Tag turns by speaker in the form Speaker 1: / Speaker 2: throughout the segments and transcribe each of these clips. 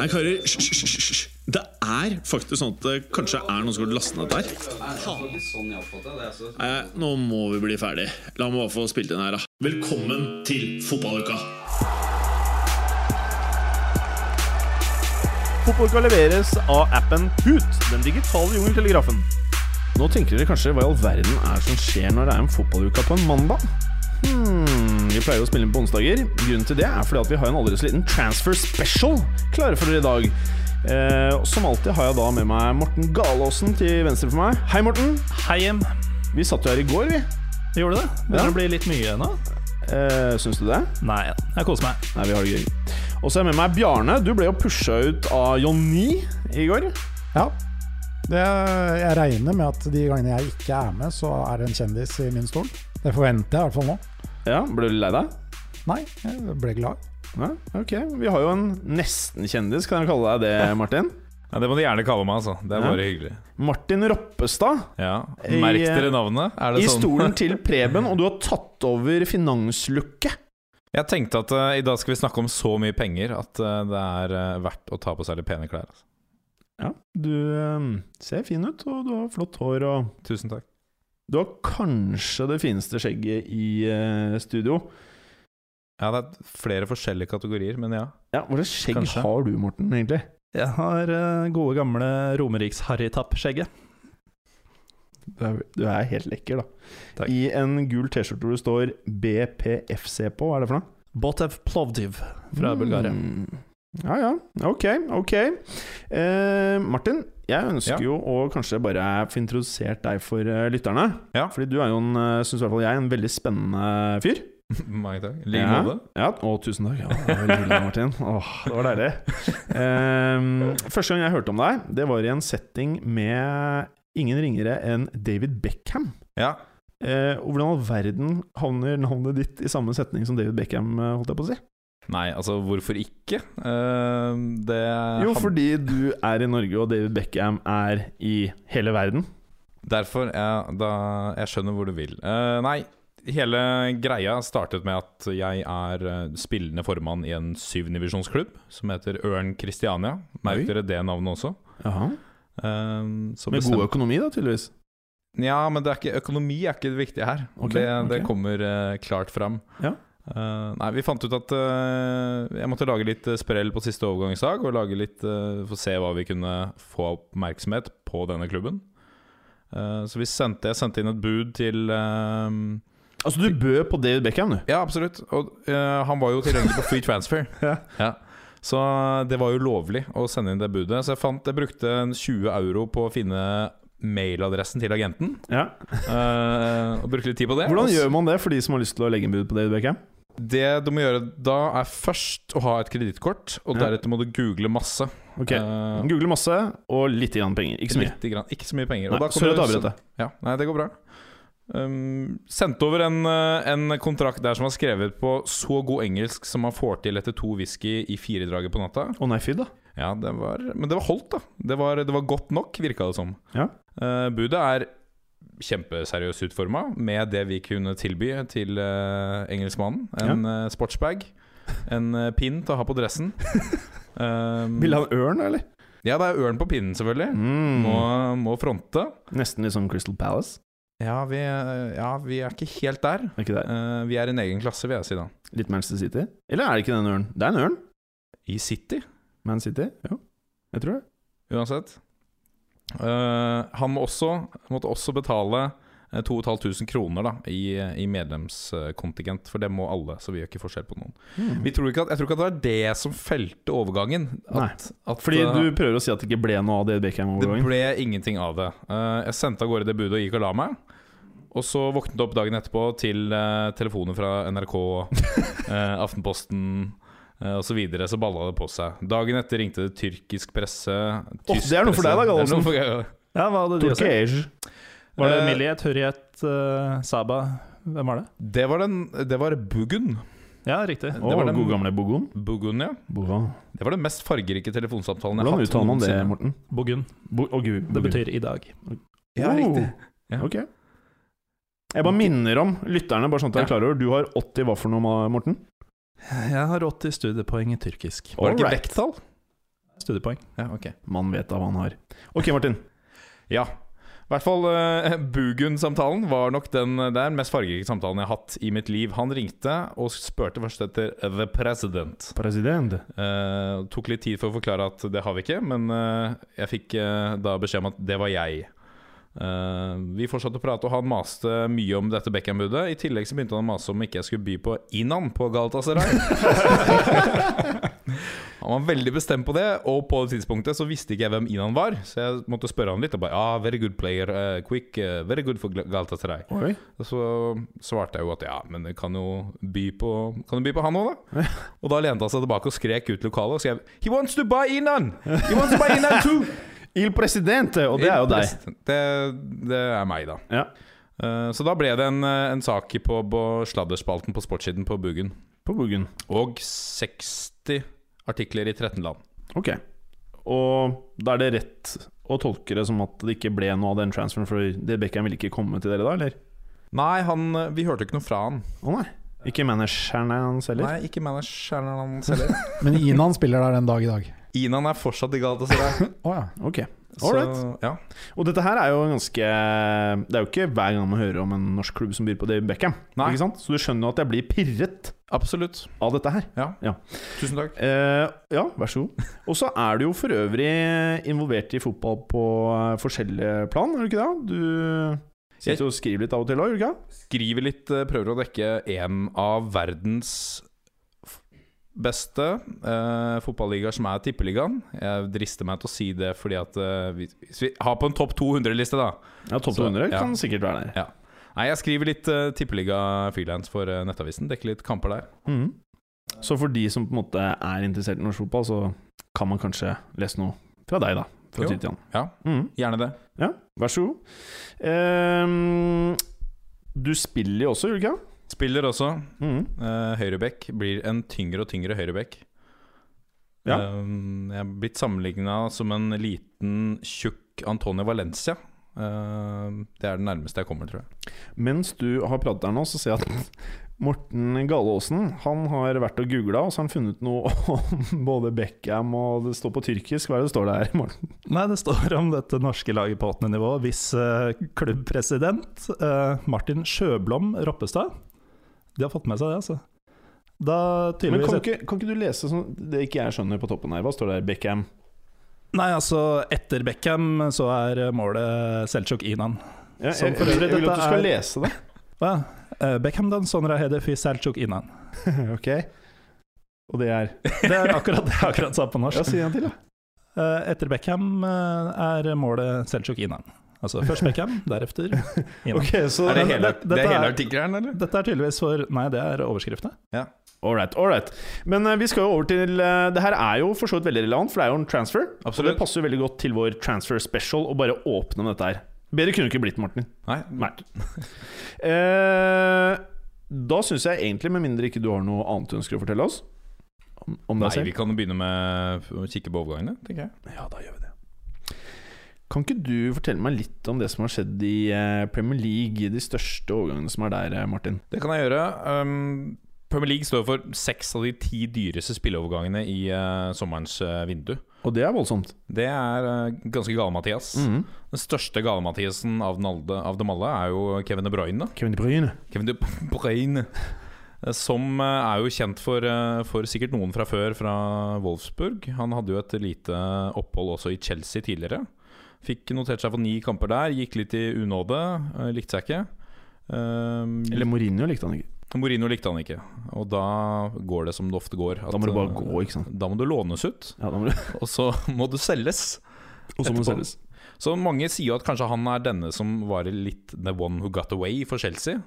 Speaker 1: Nei, karer, hysj, hysj, hysj, hysj. Det er faktisk sånn at det kanskje er noen som har lastet ned der. Nei, nå må vi bli ferdig. La meg bare få spilt inn her, da. Velkommen til fotballuka!
Speaker 2: Fotballuka leveres av appen Hoot, den digitale jungeltelegrafen. Nå tenker dere kanskje hva i all verden er det som skjer når det er en fotballuke på en mandag? Hmm, vi pleier å spille inn på onsdager. Grunnen til det er fordi at vi har en aldri så liten transfer special klare for dere i dag. Eh, og som alltid har jeg da med meg Morten Galaasen til venstre for meg. Hei, Morten.
Speaker 3: Hei hjem.
Speaker 2: Vi satt jo her i går, vi.
Speaker 3: Gjorde du det? Begynner
Speaker 2: Ja.
Speaker 3: å bli litt mye nå?
Speaker 2: Eh, syns du det?
Speaker 3: Nei, jeg koser meg.
Speaker 2: Nei, vi har det gøy. Og så er jeg med meg Bjarne. Du ble jo pusha ut av Jonny i går.
Speaker 4: Ja. Det, jeg regner med at de gangene jeg ikke er med, så er det en kjendis i min stol. Det forventer jeg i hvert fall nå.
Speaker 2: Ja, Ble du lei deg?
Speaker 4: Nei, jeg ble glad.
Speaker 2: Ja, ok. Vi har jo en nesten-kjendis, kan jeg kalle deg det, Martin?
Speaker 5: Ja, det må du gjerne kalle meg, altså. Det er
Speaker 2: Ja.
Speaker 5: bare hyggelig.
Speaker 2: Martin Roppestad.
Speaker 5: Ja.
Speaker 2: I,
Speaker 5: Merk
Speaker 2: eh,
Speaker 5: dere navnet. Er det
Speaker 2: I
Speaker 5: sånn?
Speaker 2: stolen til Preben, og du har tatt over finanslooket.
Speaker 5: Jeg tenkte at eh, i dag skal vi snakke om så mye penger at eh, det er eh, verdt å ta på seg litt pene klær. Altså.
Speaker 2: Ja, du eh, ser fin ut, og du har flott hår, og
Speaker 5: Tusen takk.
Speaker 2: du har kanskje det fineste skjegget i eh, studio.
Speaker 5: Ja, det er flere forskjellige kategorier, men ja.
Speaker 2: Ja, Hva slags skjegg
Speaker 5: Kanskje.
Speaker 2: har du, Morten, egentlig?
Speaker 3: Jeg har eh, gode, gamle Romeriks-harrytapp-skjegget.
Speaker 2: Du er, du er helt lekker, da.
Speaker 5: Takk.
Speaker 2: I en gul T-skjorte hvor det står BPFC på, hva er det for noe?
Speaker 3: Botev Plovdiv fra Bulgaria.
Speaker 2: Mm. Ja, ja. Ok, ok. Eh, Martin, jeg ønsker
Speaker 5: Ja.
Speaker 2: jo å kanskje bare få introdusert deg for eh, lytterne.
Speaker 5: Ja.
Speaker 2: Fordi du er jo en, eh, synes i hvert fall jeg, en veldig spennende fyr.
Speaker 5: Mange takk. I like
Speaker 2: ja.
Speaker 5: måte.
Speaker 2: Ja, å, tusen takk. Ja, det var veldig hyggelig, Martin. Åh, det var deilig. Eh, første gang jeg hørte om deg, det var i en setting med ingen ringere enn David Beckham.
Speaker 5: Ja.
Speaker 2: Eh, og hvordan i all verden havner navnet ditt i samme setning som David Beckham, eh, holdt jeg på å si?
Speaker 5: Nei, altså, hvorfor ikke? Eh, det
Speaker 2: Jo,
Speaker 5: han-
Speaker 2: fordi du er i Norge, og David Beckham er i hele verden.
Speaker 5: Derfor ja, da, Jeg skjønner hvor du vil. Eh, nei, hele greia startet med at jeg er eh, spillende formann i en syvdivisjonsklubb som heter Ørn Kristiania.
Speaker 2: Oi.
Speaker 5: Merk dere det navnet også. Eh, så
Speaker 2: Med
Speaker 5: bestem-
Speaker 2: god økonomi, da, tydeligvis.
Speaker 5: Ja, men det er ikke, økonomi er ikke det viktige her.
Speaker 2: Ok,
Speaker 5: det,
Speaker 2: ok.
Speaker 5: det kommer eh, klart fram.
Speaker 2: Ja.
Speaker 5: Eh, nei, vi fant ut at eh, jeg måtte lage litt eh, sprell på siste overgangsdag. Og lage litt, eh, få se hva vi kunne få av oppmerksomhet på denne klubben. Eh, så vi sendte, jeg sendte inn et bud til eh,
Speaker 2: Altså, du bød på David Beckham, du.
Speaker 5: Ja, absolutt. Og eh, han var jo tilgjengelig på free transfer.
Speaker 2: Ja.
Speaker 5: Så det var jo lovlig å sende inn det budet. Så jeg, fant, jeg brukte en 20 euro på å finne mailadressen til agenten. Eh, og brukte litt tid på det.
Speaker 2: Hvordan
Speaker 5: Og så-
Speaker 2: gjør man det for de som har lyst til å legge inn bud på David Beckham?
Speaker 5: Det du må gjøre da, er først å ha et kredittkort, og
Speaker 2: Ja.
Speaker 5: deretter må du google masse.
Speaker 2: Ok,
Speaker 5: Eh,
Speaker 2: Google masse, og litt grann penger. Ikke så mye.
Speaker 5: Lite grann. Ikke så mye penger.
Speaker 2: Nei,
Speaker 5: Og da kommer
Speaker 2: Sorry at jeg
Speaker 5: du-
Speaker 2: avbrøt deg.
Speaker 5: Ja, nei, det går bra. Um, sendte over en, eh, en kontrakt der som var skrevet på så god engelsk som man får til etter to whisky i firedraget på natta.
Speaker 2: Å nei, fy da.
Speaker 5: Ja, det var, Men det var holdt, da. Det var, det var godt nok, virka det som.
Speaker 2: Ja.
Speaker 5: Eh, budet er kjempeseriøst utforma, med det vi kunne tilby til eh, engelskmannen. En eh, sportsbag, en eh, pin til å ha på dressen. Um,
Speaker 2: Bilde av en ørn, eller?
Speaker 5: ja, det er ørn på pinnen, selvfølgelig.
Speaker 2: Mm.
Speaker 5: Må, må fronte.
Speaker 2: Nesten litt sånn Crystal Palace.
Speaker 5: Ja vi, eh, ja, vi er ikke helt der.
Speaker 2: Er ikke det?
Speaker 5: Eh, vi er i en egen klasse, vil jeg si da.
Speaker 2: Litt Manchester City? Eller er det ikke den ørnen? Det er en ørn.
Speaker 5: I City,
Speaker 2: Man City? Jo, jeg tror det.
Speaker 5: uansett. Eh, han må også, måtte også betale eh, 2500 kroner da, i, i medlemskontingent, for det må alle, så vi gjør ikke forskjell på noen. Vi tror ikke at, jeg tror ikke at det var det som felte overgangen. At, at,
Speaker 2: Fordi
Speaker 5: eh,
Speaker 2: du prøver å si at det ikke ble noe av David
Speaker 5: Det
Speaker 2: Beckham-overgangen?
Speaker 5: ble ingenting av det. Eh, jeg sendte av gårde det budet og gikk og la meg. Og så våknet jeg opp dagen etterpå til eh, telefoner fra NRK, eh, Aftenposten eh, osv. Så, videre, så balla det på seg. Dagen etter ringte det tyrkisk presse. tysk
Speaker 2: det er noe for
Speaker 5: presse.
Speaker 2: deg da,
Speaker 5: Det er
Speaker 2: Gallosen.
Speaker 5: noe for deg.
Speaker 3: Ja, hva hadde de å si?
Speaker 2: Turkish.
Speaker 3: Var det
Speaker 5: Eh,
Speaker 3: Milliet, Hurriet, eh, Saba Hvem var det?
Speaker 5: Det var, den, det var Bugun.
Speaker 3: Ja, riktig.
Speaker 2: Å,
Speaker 5: var den-
Speaker 2: god gamle Bogon.
Speaker 5: Bugun, ja.
Speaker 2: Bogon.
Speaker 5: Det var den mest fargerike telefonsamtalen jeg
Speaker 2: Hvordan
Speaker 5: har hatt.
Speaker 2: uttaler man det,
Speaker 5: noensinne.
Speaker 2: Morten?
Speaker 3: Bogun.
Speaker 2: Bo å, Gud,
Speaker 3: Det betyr i dag.
Speaker 5: Ja, riktig. Ja.
Speaker 2: Oh, Ok. Jeg bare minner om lytterne, bare sånn at jeg er klar over du har 80 hva for noe, Morten?
Speaker 3: Jeg har 80 studiepoeng i tyrkisk.
Speaker 5: Var det ikke
Speaker 2: Alright.
Speaker 5: vekttall?
Speaker 3: Studiepoeng.
Speaker 5: Ja, ok.
Speaker 2: Man vet da hva han har. Ok, Martin.
Speaker 5: Ja. I hvert fall eh, Bugun-samtalen var nok den der mest fargerike samtalen jeg har hatt i mitt liv. Han ringte og spurte først etter The President.
Speaker 2: President.
Speaker 5: Eh, tok litt tid for å forklare at det har vi ikke, men eh, jeg fikk eh, da beskjed om at det var jeg. Eh, vi fortsatte å prate, og han maste mye om dette Beckham-budet. I tillegg så begynte han å mase om ikke jeg skulle by på Inan på Galatasaray. han var veldig bestemt på det, og på det tidspunktet så visste ikke jeg hvem Inan var, så jeg måtte spørre han litt. Og bare, ah, very good player, eh, quick, eh, very good for Gal- Galatasaray.
Speaker 2: Oi.
Speaker 5: Og Så svarte jeg jo at ja, men jeg kan jo by på, kan du by på han òg, da? Og da lente han seg tilbake og skrek ut lokalet og skrev He wants to buy Inan! He wants to buy Inan too!
Speaker 2: Il Presidente! Og det er jo deg.
Speaker 5: Det, det er meg, da.
Speaker 2: Ja.
Speaker 5: Eh, Så da ble det en, eh, en sak på, på sladderspalten på sportssiden på Bugen.
Speaker 2: På Buggen.
Speaker 5: Og 60 artikler i 13 land.
Speaker 2: Ok. Og da er det rett å tolke det som at det ikke ble noe av den transferen, for det Beckham ville ikke komme til dere da, eller?
Speaker 5: Nei, han, eh, vi hørte ikke noe fra han.
Speaker 2: Å nei. Ikke manageren hans heller?
Speaker 5: Nei, ikke manageren hans heller.
Speaker 4: Men Inan spiller der den dag i dag.
Speaker 5: Inan er fortsatt i Galatasaray.
Speaker 4: Å ja.
Speaker 2: Ok.
Speaker 5: Så,
Speaker 2: Alright.
Speaker 5: ja.
Speaker 2: Og dette her er jo en ganske Det er jo ikke hver gang man hører om en norsk klubb som byr på David Beckham.
Speaker 5: Nei.
Speaker 2: Ikke sant? Så du skjønner jo at jeg blir pirret
Speaker 5: Absolutt.
Speaker 2: av dette her.
Speaker 5: Tusen takk.
Speaker 2: Eh, ja, vær så god. Og så er du jo for øvrig involvert i fotball på eh, forskjellige plan, er du ikke det? Du sitter og skriver litt av og til òg, gjør du ikke? det?
Speaker 5: skriver litt, eh, prøver å dekke en av verdens f- beste eh, fotballigaer, som er Tippeligaen. Jeg drister meg til å si det fordi at eh, vi- Hvis vi har på en topp 200-liste, da.
Speaker 2: Ja, topp
Speaker 5: Så,
Speaker 2: 200
Speaker 5: ja.
Speaker 2: kan sikkert være der.
Speaker 5: Nei, jeg skriver litt eh, Tippeliga frilans for eh, Nettavisen. Dekker litt kamper der.
Speaker 2: Mhm. Så for de som på en måte er interessert i norsk fotball, så kan man kanskje lese noe fra deg, da. Fra
Speaker 5: Jo.
Speaker 2: tid til annen.
Speaker 5: Ja.
Speaker 2: Mhm.
Speaker 5: Gjerne det.
Speaker 2: Ja, vær så god. Ehm, du spiller jo også, gjør du ikke?
Speaker 5: Spiller også.
Speaker 2: Mm.
Speaker 5: Uh, høyrebekk blir en tyngre og tyngre høyrebekk.
Speaker 2: Ja.
Speaker 5: Eh, jeg er blitt sammenligna som en liten, tjukk Antonio Valencia. Eh, det er det nærmeste jeg kommer, tror jeg.
Speaker 2: Mens du har pratet her nå, så ser jeg at Morten Galaasen Han har vært og googla, og så har han funnet noe om både Beckham og Det står på tyrkisk. Hva er det det står der, Morten?
Speaker 3: Nei, det står om dette norske laget på åttende nivå hvis eh, klubbpresident eh, Martin Sjøblom Roppestad De har fått med seg det, altså. Da
Speaker 2: Men
Speaker 3: tydeligvis
Speaker 2: kan ikke, kan ikke du lese sånn det ikke jeg skjønner på toppen her? Hva står der? Beckham?
Speaker 3: Nei, altså, etter Beckham så er eh, målet Selchuk Inan.
Speaker 2: Ja,
Speaker 3: Som
Speaker 2: jeg,
Speaker 3: for
Speaker 2: jeg,
Speaker 3: øvrig,
Speaker 2: vil
Speaker 3: dette
Speaker 2: at du skal
Speaker 3: er-
Speaker 2: lese det.
Speaker 3: Ja, eh, Beckham dan sonra hedefi Selchuk Inan.
Speaker 2: ok Og det er
Speaker 3: Det er akkurat det jeg akkurat sa på norsk.
Speaker 2: Ja, si en til, da.
Speaker 3: Eh, Etter Beckham eh, er målet Selchuk Inan. Altså først Beckham, deretter Inan.
Speaker 2: Ok, så
Speaker 5: Er det
Speaker 3: Men
Speaker 5: hele,
Speaker 3: det-
Speaker 5: det
Speaker 3: dette
Speaker 5: er hele
Speaker 3: er-
Speaker 5: artikkelen, eller?
Speaker 3: Dette er tydeligvis for Nei, det er overskriftene.
Speaker 2: Alright, alright. Men eh, vi skal jo over til eh, Det her er jo for så vidt veldig relevant, for det er jo en transfer. Og det
Speaker 5: Absolutt.
Speaker 2: passer jo veldig godt til vår transfer special å bare åpne med dette her. Bedre kunne det ikke blitt, Morten.
Speaker 5: Nei.
Speaker 2: Nei. Eh, da syns jeg egentlig, med mindre ikke du har noe annet du ønsker å fortelle oss om, om deg
Speaker 5: Nei, vi
Speaker 2: selv
Speaker 5: kan jo begynne med å kikke på overgangene, tenker jeg.
Speaker 2: Ja, da gjør vi det. Kan ikke du fortelle meg litt om det som har skjedd i eh, Premier League, de største overgangene som er der, eh, Martin?
Speaker 5: Det kan jeg gjøre. Um, Premier League står for seks av de ti dyreste spilleovergangene i eh, sommerens eh, vindu.
Speaker 2: Og det er voldsomt.
Speaker 5: Det er eh, ganske gale, Mathias.
Speaker 2: Mhm.
Speaker 5: Den største gale Mathiasen av, den alde, av dem alle er jo Kevin De Bruyne.
Speaker 2: Kevin De Bruyne.
Speaker 5: Kevin De Bruyne eh, som eh, er jo kjent for, eh, for sikkert noen fra før, fra Wolfsburg. Han hadde jo et lite opphold også i Chelsea tidligere. Fikk notert seg for ni kamper der, gikk litt i unåde, eh, likte seg ikke. Eh,
Speaker 2: Eller Mourinho likte han ikke.
Speaker 5: Mourinho likte han ikke, og da går det som det ofte går. at,
Speaker 2: Da må du bare
Speaker 5: eh,
Speaker 2: gå, ikke sant.
Speaker 5: Da må du lånes ut,
Speaker 2: Ja, da må du,
Speaker 5: og så må du selges.
Speaker 2: og så må du
Speaker 5: Etterpå.
Speaker 2: selges.
Speaker 5: Så mange sier jo at kanskje han er denne som var litt the one who got away for Chelsea.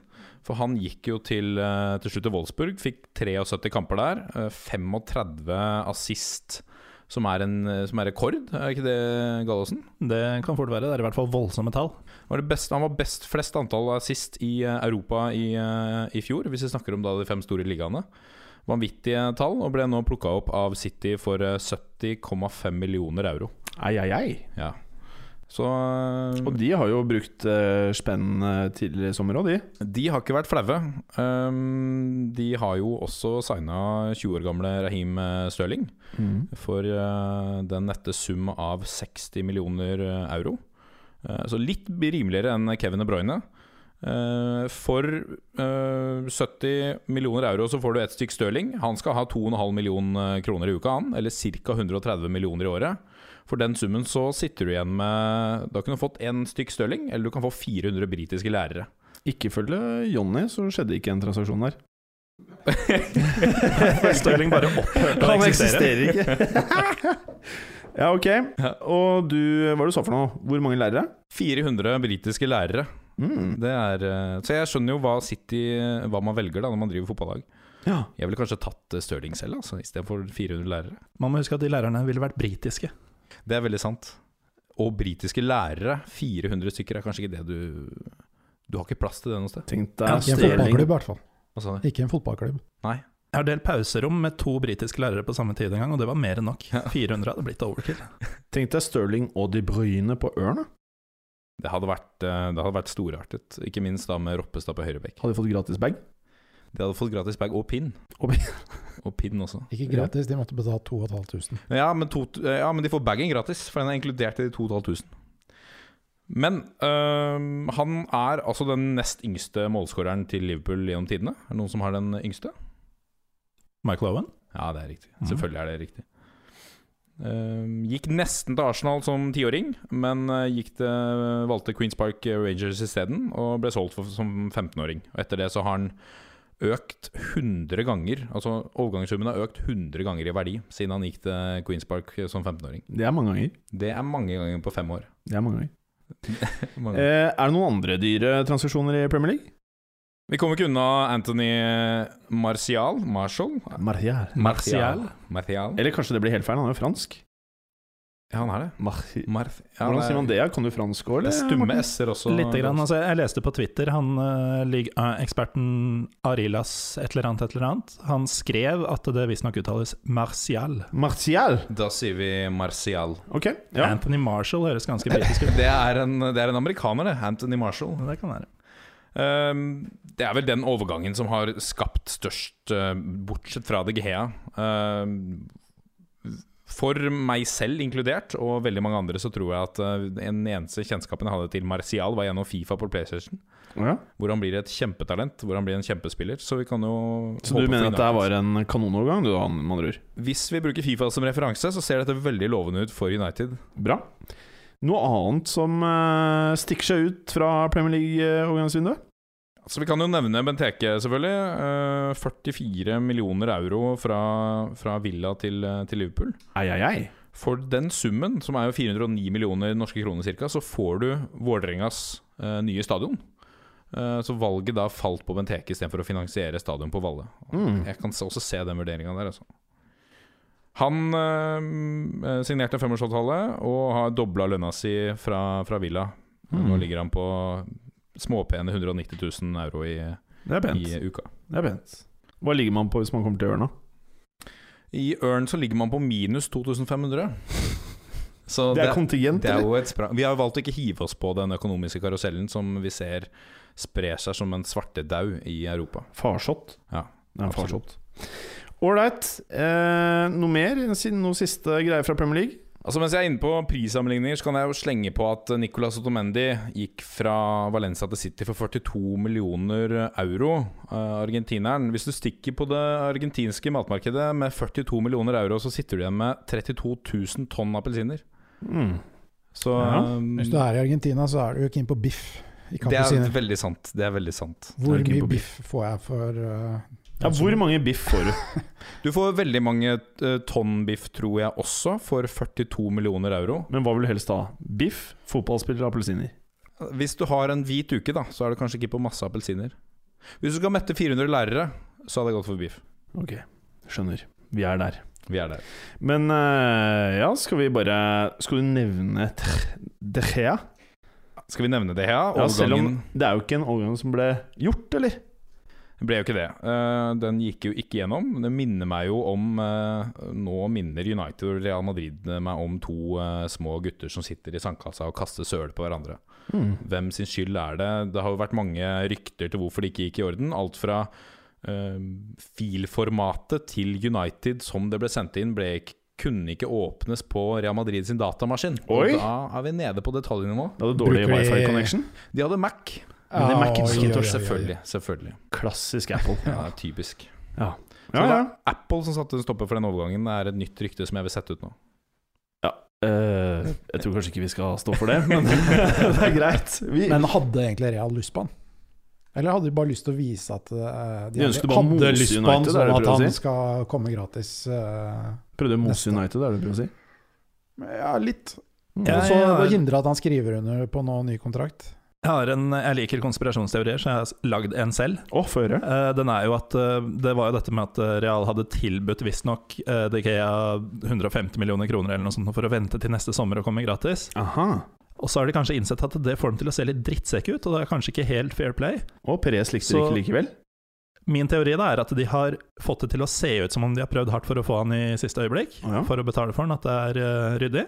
Speaker 5: For han gikk jo til, eh, til slutt til Wolfsburg, fikk 73 kamper der. eh, 35 assist, som er, en, eh, som er rekord, er ikke det, Gallosen?
Speaker 3: Det kan fort være. Det er i hvert fall voldsomme tall.
Speaker 5: Var det best, han var best flest antall assist i eh, Europa i, eh, i fjor, hvis vi snakker om da de fem store ligaene. Vanvittige tall, og ble nå plukka opp av City for eh, 70,5 millioner euro.
Speaker 2: Ai, ai, ai.
Speaker 5: Ja. Så eh,
Speaker 2: Og de har jo brukt eh, spenn eh, tidligere i sommer òg, de.
Speaker 5: de har ikke vært flaue. Um, de har jo også signa 20 år gamle Raheem eh, Sterling
Speaker 2: Mm.
Speaker 5: for eh, den nette sum av 60 millioner eh, euro. Eh, så litt rimeligere enn Kevin De Bruyne. Eh, for eh, 70 millioner euro så får du ett stykk Stirling. Han skal ha 2,5 millioner eh, kroner i uka, han. Eller ca. 130 millioner i året. For den summen så sitter du igjen med Da kunne du fått én stykk Stirling, eller du kan få 400 britiske lærere.
Speaker 2: Ikke følge Jonny, så skjedde ikke en transaksjon der.
Speaker 3: Stirling bare opphørte å eksistere.
Speaker 2: ikke. ja, ok. Og du, hva du sa for noe? Hvor mange lærere?
Speaker 5: 400 britiske lærere.
Speaker 2: Mm.
Speaker 5: Det er, eh, så jeg skjønner jo hva City eh, Hva man velger da når man driver fotballag.
Speaker 2: Ja.
Speaker 5: Jeg ville kanskje tatt eh, Stirling selv, altså, istedenfor 400 lærere.
Speaker 3: Man må huske at de lærerne ville vært britiske.
Speaker 5: Det er veldig sant. Og britiske lærere, 400 stykker, er kanskje ikke det du Du har ikke plass til det noe sted?
Speaker 2: Tenk
Speaker 4: Ja,
Speaker 2: deg
Speaker 4: ikke en
Speaker 2: Stirling.
Speaker 4: fotballklubb, i hvert fall.
Speaker 5: Hva sa du?
Speaker 4: Ikke en fotballklubb.
Speaker 5: Nei.
Speaker 3: Jeg har delt pauserom med to britiske lærere på samme tid en gang, og det var mer enn nok. 400 hadde blitt overkill.
Speaker 2: Tenk deg Stirling og De Bruyne på Ørn. da.
Speaker 5: Det hadde vært, eh, det hadde vært storartet. Ikke minst da med Roppestad på høyrebekk.
Speaker 2: Hadde de fått gratis bag?
Speaker 5: De hadde fått gratis bag og pin.
Speaker 2: Og
Speaker 5: Og pin også.
Speaker 4: Ikke gratis, de måtte betale 2500.
Speaker 2: Mm.
Speaker 5: Ja, men, to, ja, men de får bagen gratis, for den er inkludert i de 2500. Men øhm, han er altså den nest yngste målskåreren til Liverpool gjennom tidene. Er det noen som har den yngste?
Speaker 3: Michael Owen?
Speaker 5: Ja, det er riktig.
Speaker 3: Mhm.
Speaker 5: Selvfølgelig er det riktig. Ehm, gikk nesten til Arsenal som tiåring, men eh, gikk til, valgte Queens Park Rangers isteden og ble solgt for, som 15-åring. Og Etter det så har han økt 100 ganger, altså overgangssummen har økt 100 ganger i verdi siden han gikk til Queens Park som 15-åring.
Speaker 2: Det er mange ganger.
Speaker 5: Det er mange ganger på fem år.
Speaker 2: Det er mange ganger.
Speaker 3: Mm.
Speaker 5: Mange. ganger.
Speaker 2: Eh, er det noen andre dyre transaksjoner i Premier League?
Speaker 5: Vi kommer ikke unna Anthony Martial. Marshall?
Speaker 2: Martial.
Speaker 3: Martial?
Speaker 5: Martial.
Speaker 2: Eller kanskje det blir helt feil, han er jo fransk.
Speaker 5: Ja, han er det.
Speaker 2: Martial.
Speaker 5: Marth ja,
Speaker 2: Hvordan sier man det? Kan du fransk òg,
Speaker 5: Det
Speaker 2: eller?
Speaker 5: er stumme
Speaker 2: Morten?
Speaker 5: s-er også.
Speaker 3: Litt. Grann, altså, jeg leste på Twitter han eh, lig- eh, eksperten Arilas et eller annet, et eller annet. Han skrev at det visstnok uttales Martial.
Speaker 2: Martial.
Speaker 5: Da sier vi Martial.
Speaker 2: Ok. Ja.
Speaker 3: Anthony Marshall høres ganske britisk ut.
Speaker 5: Det er en, det er en amerikaner, det. Anthony Marshall.
Speaker 3: Men Det kan være.
Speaker 5: Ehm, det er vel den overgangen som har skapt størst, eh, bortsett fra De Gea. Ehm, for meg selv inkludert, og veldig mange andre, så tror jeg at eh, den eneste kjennskapen jeg hadde til Martial, var gjennom Fifa på PlayStation.
Speaker 2: Ja.
Speaker 5: Hvor han blir et kjempetalent, hvor han blir en kjempespiller. Så vi kan jo
Speaker 2: Så du
Speaker 5: håpe på
Speaker 2: mener at det her
Speaker 5: United.
Speaker 2: var en kanonovergang, du da, med andre ord?
Speaker 5: Hvis vi bruker Fifa som referanse, så ser dette veldig lovende ut for United.
Speaker 2: Bra. Noe annet som eh, stikker seg ut fra Premier League-overgangsvinduet?
Speaker 5: Så vi kan jo nevne Benteke, selvfølgelig. Eh, 44 millioner euro fra, fra Villa til, eh, til Liverpool.
Speaker 2: Ei, ei, ei.
Speaker 5: For den summen, som er jo 409 millioner norske kroner ca., så får du Vålerengas eh, nye stadion. Eh, så valget da falt på Benteke istedenfor å finansiere stadion på Valle.
Speaker 2: Mm.
Speaker 5: Jeg kan se- også se den vurderinga der, altså. Han eh, signerte en femårsavtale og har dobla lønna si fra, fra Villa.
Speaker 2: Mm.
Speaker 5: Nå ligger han på småpene 190 000 euro i,
Speaker 2: Det er pent.
Speaker 5: i uka.
Speaker 2: Det er pent. Hva ligger man på hvis man kommer til ørna?
Speaker 5: I Ørn så ligger man på minus 2500. Så
Speaker 2: Det er kontingent,
Speaker 5: det er
Speaker 2: eller?
Speaker 5: jo et sprang. Vi har jo valgt å ikke hive oss på den økonomiske karusellen som vi ser sprer seg som en svartedau i Europa.
Speaker 2: Farsott.
Speaker 5: Ja,
Speaker 2: det er en
Speaker 5: absolutt.
Speaker 2: farsott. Ålreit. Eh, noe mer? Siden Noe siste greier fra Premier League?
Speaker 5: Altså Mens jeg er inne på prissammenligninger, så kan jeg jo slenge på at Nicolas Ottomendi gikk fra Valencia til City for 42 millioner euro. eh, argentineren. Hvis du stikker på det argentinske matmarkedet med 42 millioner euro, så sitter du igjen med 32 000 tonn appelsiner.
Speaker 2: Mm.
Speaker 5: Så
Speaker 2: Ja.
Speaker 5: eh,
Speaker 4: Hvis du er i Argentina, så er du jo keen på biff. i
Speaker 5: det er
Speaker 4: kampesiner.
Speaker 5: veldig sant. Det er veldig sant.
Speaker 4: Hvor
Speaker 2: Jeg er keen
Speaker 4: mye
Speaker 2: på
Speaker 4: biff får jeg for eh,
Speaker 2: Ja,
Speaker 4: altså,
Speaker 2: hvor mange biff får du?
Speaker 5: Du får veldig mange eh, tonn biff, tror jeg også, for 42 millioner euro.
Speaker 2: Men hva vil du helst ha? Biff, fotballspillere, appelsiner?
Speaker 5: Hvis du har en hvit uke, da, så er det kanskje ikke på masse appelsiner. Hvis du skal mette 400 lærere, så hadde jeg gått for biff.
Speaker 2: Ok, skjønner. Vi er der.
Speaker 5: Vi er der.
Speaker 2: Men eh, ja, skal vi bare Skal du nevne Tre- De Gea?
Speaker 5: Skal vi nevne det, ja?
Speaker 2: Ja, selv om
Speaker 5: Overgangen
Speaker 2: det er jo ikke en overgang som ble gjort, eller?
Speaker 5: Det ble jo ikke det. Eh, den gikk jo ikke gjennom. Det minner meg jo om eh, Nå minner United og Real Madrid meg om to eh, små gutter som sitter i sandkassa og kaster søl på hverandre.
Speaker 4: Hmm.
Speaker 5: Hvem sin skyld er det? Det har jo vært mange rykter til hvorfor det ikke gikk i orden. Alt fra eh, filformatet til United som det ble sendt inn, ble ikke kunne ikke åpnes på Real Madrid sin datamaskin.
Speaker 2: Oi!
Speaker 5: Og da er vi nede på detaljnivå.
Speaker 2: Det hadde dårlig
Speaker 4: Bruker vi-
Speaker 2: wifi-connection.
Speaker 5: De hadde Mac.
Speaker 2: Men det er Macintosh,
Speaker 4: Oi, oi, oi, oi.
Speaker 5: Selvfølgelig. selvfølgelig
Speaker 2: Klassisk Apple.
Speaker 5: ja. det er Typisk.
Speaker 2: Ja.
Speaker 5: Så
Speaker 2: Ja,
Speaker 5: det
Speaker 2: ja.
Speaker 5: er Apple som satte en stopper for den overgangen. Det er et nytt rykte som jeg vil sette ut nå.
Speaker 2: Eh, jeg tror kanskje ikke vi skal stå for det, men det er greit. Vi,
Speaker 4: Men hadde egentlig Real lyst på han? Eller hadde de bare lyst til å vise at eh,
Speaker 2: De
Speaker 4: hadde-
Speaker 2: ønsket bare å mose
Speaker 4: hadde lyst på han
Speaker 2: United, er det du
Speaker 4: sånn at
Speaker 2: prøver å
Speaker 4: han
Speaker 2: si?
Speaker 4: skal komme gratis? eh,
Speaker 2: prøvde å mose
Speaker 4: Neste.
Speaker 2: United, er det du prøver å si?
Speaker 4: ja, litt.
Speaker 2: Ja,
Speaker 4: Og så
Speaker 2: ja, ja.
Speaker 4: hindre at han skriver under på noe ny kontrakt.
Speaker 3: Jeg, har en, jeg liker konspirasjonsteorier, så jeg har s- lagd en selv.
Speaker 2: Å, få høre.
Speaker 3: Eh, Den er jo at eh, Det var jo dette med at eh, Real hadde tilbudt visstnok eh, De Gea 150 millioner kroner eller noe sånt for å vente til neste sommer og komme gratis.
Speaker 2: Aha.
Speaker 3: Og så har de kanskje innsett at det får dem til å se litt drittsekk ut, og det er kanskje ikke helt fair play.
Speaker 2: Og Perez likte det
Speaker 3: Så-
Speaker 2: ikke likevel.
Speaker 3: Min teori da er at de har fått det til å se ut som om de har prøvd hardt for å få han i siste øyeblikk,
Speaker 2: Å, ja.
Speaker 3: for å betale for han, at det er eh, ryddig.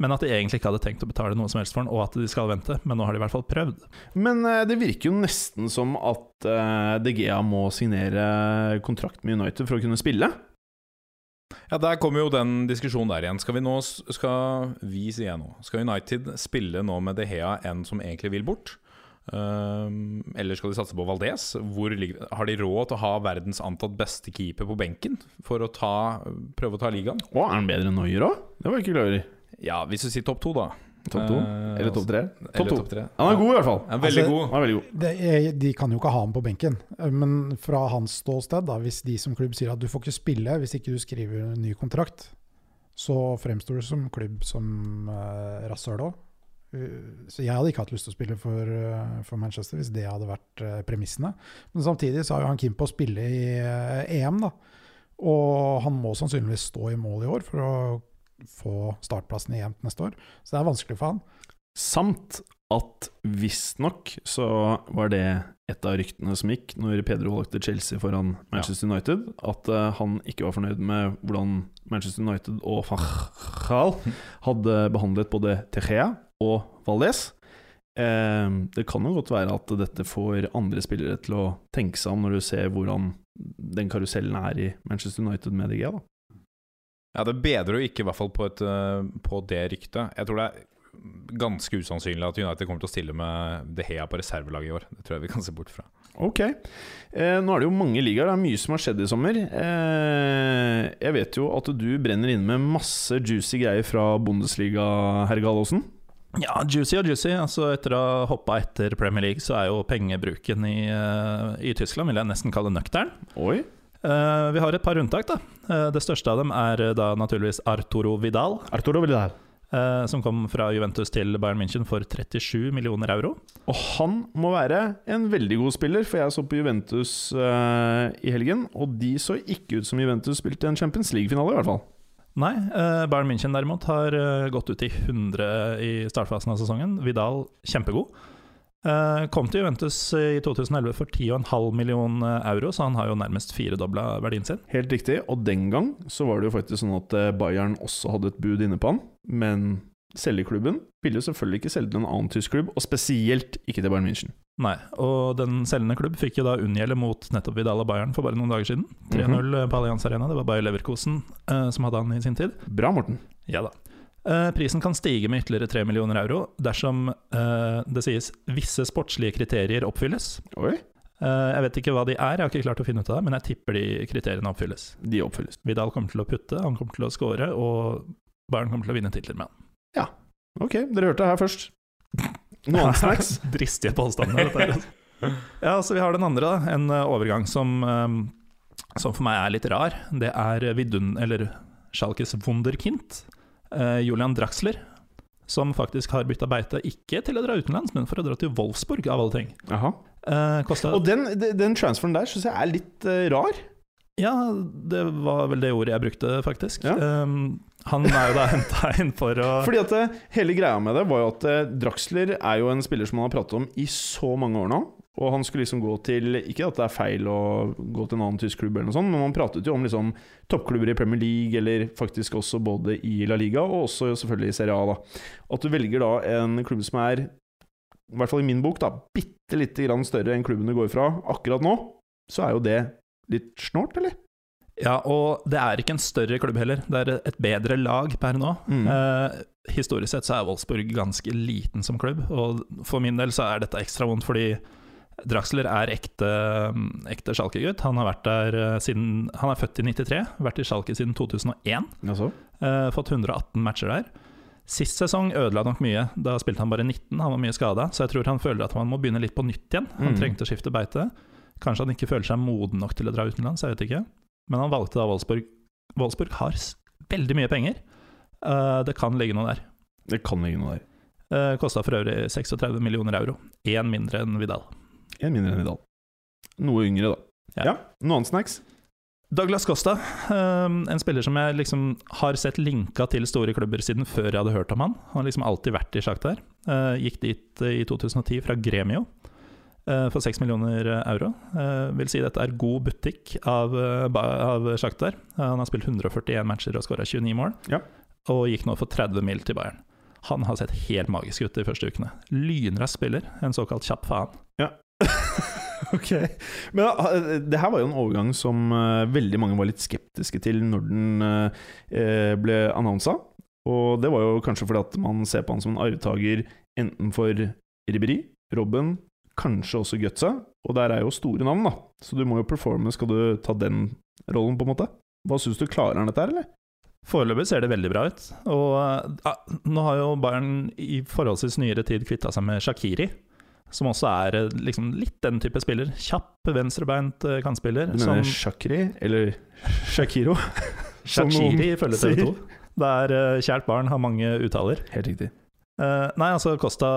Speaker 3: Men at de egentlig ikke hadde tenkt å betale noe som helst for han, og at de skal vente. Men nå har de i hvert fall prøvd.
Speaker 2: Men eh, det virker jo nesten som at eh, De Gea må signere kontrakt med United for å kunne spille.
Speaker 5: Ja, Der kommer jo den diskusjonen der igjen. Skal vi nå, skal vi, sier jeg nå, skal United spille nå med De Hea en som egentlig vil bort? Ehm, eller skal de satse på Valdez? Hvor ligger, har de råd til å ha verdens antatt beste keeper på benken for å ta, prøve å ta ligaen?
Speaker 2: Å, er han bedre enn Noyer òg? Det var jeg ikke klar over.
Speaker 5: Ja, hvis du sier topp to, da.
Speaker 2: Topp to?
Speaker 5: Eh,
Speaker 2: Eller topp tre?
Speaker 5: eller
Speaker 2: Topp to.
Speaker 5: topp tre.
Speaker 2: Han er god, i hvert fall.
Speaker 5: Ja, veldig
Speaker 4: Altså,
Speaker 5: god.
Speaker 2: Han er veldig god.
Speaker 4: Det er, de kan jo ikke ha han på benken, Eh, men fra hans ståsted, da, hvis de som klubb sier at du får ikke spille hvis ikke du skriver en ny kontrakt, så fremstår du som klubb som uh, rasshøl òg. Så jeg hadde ikke hatt lyst til å spille for, eh, for Manchester hvis det hadde vært eh, premissene. Men samtidig så har jo han Kim på å spille i eh, EM, da. Og han må sannsynligvis stå i mål i år for å få startplassen i EM neste år. Så det er vanskelig for han.
Speaker 2: Samt at visstnok så var det et av ryktene som gikk når Pedro valgte Chelsea foran Manchester United, at eh, han ikke var fornøyd med hvordan Manchester United og ah. Fachal hadde behandlet både Tejea og Valdes. Eh, det kan jo godt være at dette får andre spillere til å tenke seg om når du ser hvordan den karusellen er i Manchester United med DG. da
Speaker 5: Ja, det bedrer jo ikke i hvert fall på, et, eh, på det ryktet. Jeg tror det er ganske usannsynlig at United kommer til å stille med De Hea på reservelaget i år. Det tror jeg vi kan se bort fra.
Speaker 2: Ok. Eh, nå er det jo mange ligaer. Det er mye som har skjedd i sommer. Eh, jeg vet jo at du brenner inne med masse juicy greier fra Bundesliga, herr Gallosen.
Speaker 3: Ja, juicy og juicy. Altså, etter å ha hoppa etter Premier League, så er jo pengebruken i, eh, i Tyskland vil jeg nesten kalle nøktern.
Speaker 2: Oi.
Speaker 3: Eh, vi har et par unntak, da. Eh, det største av dem er eh, da naturligvis Arturo Vidal,
Speaker 2: Arturo Vidal.
Speaker 3: eh, som kom fra Juventus til Bayern München for 37 millioner euro.
Speaker 2: Og han må være en veldig god spiller, for jeg så på Juventus eh, i helgen, og de så ikke ut som Juventus spilte en Champions League-finale, i hvert fall.
Speaker 3: Nei, eh, Bayern München derimot har eh, gått ut i 100 i startfasen av sesongen. Vidal kjempegod. Eh, kom til Juventus i 2011 for 10,5 millioner eh, euro, så han har jo nærmest firedobla verdien sin.
Speaker 2: Helt riktig. Og den gang så var det jo faktisk sånn at eh, Bayern også hadde et bud inne på han, men selgeklubben ville jo selvfølgelig ikke selge til en annen tysk klubb, og spesielt ikke til Bayern München.
Speaker 3: Nei, og den selgende klubb fikk jo da unngjelde mot nettopp Vidal og Bayern for bare noen dager siden. 3-0 på Allianz Arena, det var Bayer Leverkosen eh, som hadde han i sin tid.
Speaker 2: Bra, Morten.
Speaker 3: Ja da. Eh, prisen kan stige med ytterligere 3 millioner euro dersom eh, det sies visse sportslige kriterier oppfylles.
Speaker 2: Oi.
Speaker 3: Eh, jeg vet ikke hva de er, jeg har ikke klart å finne ut av det, men jeg tipper de kriteriene oppfylles.
Speaker 2: De oppfylles.
Speaker 3: Vidal kommer til å putte, han kommer til å score, og Bayern kommer til å vinne titler med han.
Speaker 2: Ok, dere hørte det her først. Noe annet snacks?
Speaker 3: Dristige påstander, dette her. altså. Ja, så vi har den andre, da. En eh, overgang som, eh, som for meg er litt rar. Det er Vidun, eller Schalkes Wunderkind, eh, Julian Draxler, som faktisk har bytta beite, ikke til å dra utenlands, men for å dra til Wolfsburg, av alle ting.
Speaker 2: Aha.
Speaker 3: Eh, kostet,
Speaker 2: Og den, de- den transferen der syns jeg er litt eh, rar.
Speaker 3: ja, det var vel det ordet jeg brukte, faktisk.
Speaker 2: Ja.
Speaker 3: Eh, han er jo da henta inn for å
Speaker 2: Fordi at eh, hele greia med det var jo at eh, Draxler er jo en spiller som man har pratet om i så mange år nå. Og han skulle liksom gå til Ikke at det er feil å gå til en annen tysk klubb, eller noe sånt, men man pratet jo om liksom toppklubber i Premier League, eller faktisk også både i La Liga og også selvfølgelig i Serie A. da. At du velger da en klubb som er, i hvert fall i min bok, da, bitte lite grann større enn klubben du går fra akkurat nå, så er jo det litt snålt, eller?
Speaker 3: Ja, og det er ikke en større klubb heller. Det er et bedre lag per nå.
Speaker 2: Mm.
Speaker 3: Eh, historisk sett så er Wolfsburg ganske liten som klubb, og for min del så er dette ekstra vondt fordi Draxler er ekte, ekte Schalke-gutt. Han har vært der eh, siden Han er født i 93, vært i Schalke siden 2001.
Speaker 2: Altså?
Speaker 3: Eh, fått 118 matcher der. Sist sesong ødela nok mye. Da spilte han bare 19, han var mye skada. Så jeg tror han føler at man må begynne litt på nytt igjen. Han
Speaker 2: Mm.
Speaker 3: trengte å skifte beite. Kanskje han ikke føler seg moden nok til å dra utenlands, jeg vet ikke. Men han valgte da Wolfsburg. Wolfsburg har s- veldig mye penger. Eh, det kan ligge noe der.
Speaker 2: Det kan ligge noe der.
Speaker 3: Uh, Kosta for øvrig 36 millioner euro. Én mindre enn Vidal.
Speaker 2: En mindre enn Vidal. Noe yngre, da.
Speaker 3: Ja.
Speaker 2: Ja. Noe annet snacks?
Speaker 3: Douglas Costa, ehm, en spiller som jeg liksom har sett linka til store klubber siden før jeg hadde hørt om han. Han har liksom alltid vært i sjakk der. Eh, gikk dit eh, i 2010 fra Gremio eh, for 6 millioner euro. Eh, vil si dette er god butikk av, eh, ba- av sjakk der. Eh, han har spilt 141 matcher og skåra 29 mål,
Speaker 2: Ja.
Speaker 3: og gikk nå for 30 mil til Bayern. Han har sett helt magisk ut de første ukene. Lynrask spiller, en såkalt kjapp faen.
Speaker 2: Ok. Men eh, det her var jo en overgang som eh, veldig mange var litt skeptiske til når den eh, ble annonsa. Og det var jo kanskje fordi at man ser på han som en arvtaker enten for Ribberi, Robben, kanskje også Gutsa. Og der er jo store navn, da. Så du må jo performe. Skal du ta den rollen, på en måte? Hva syns du? Klarer han dette her, eller?
Speaker 3: Foreløpig ser det veldig bra ut. Og ja, nå har jo Bayern i forholdsvis nyere tid kvitta seg med Shakiri, som også er eh, liksom litt den type spiller. Kjapp, venstrebeint eh, kantspiller.
Speaker 2: Du
Speaker 3: som
Speaker 2: mener Shakri, eller Shakiro? som noen
Speaker 3: Shakiri ifølge
Speaker 2: sier.
Speaker 3: TV 2. Der eh, kjært barn har mange uttaler.
Speaker 2: Helt riktig.
Speaker 3: Eh, nei, altså, Costa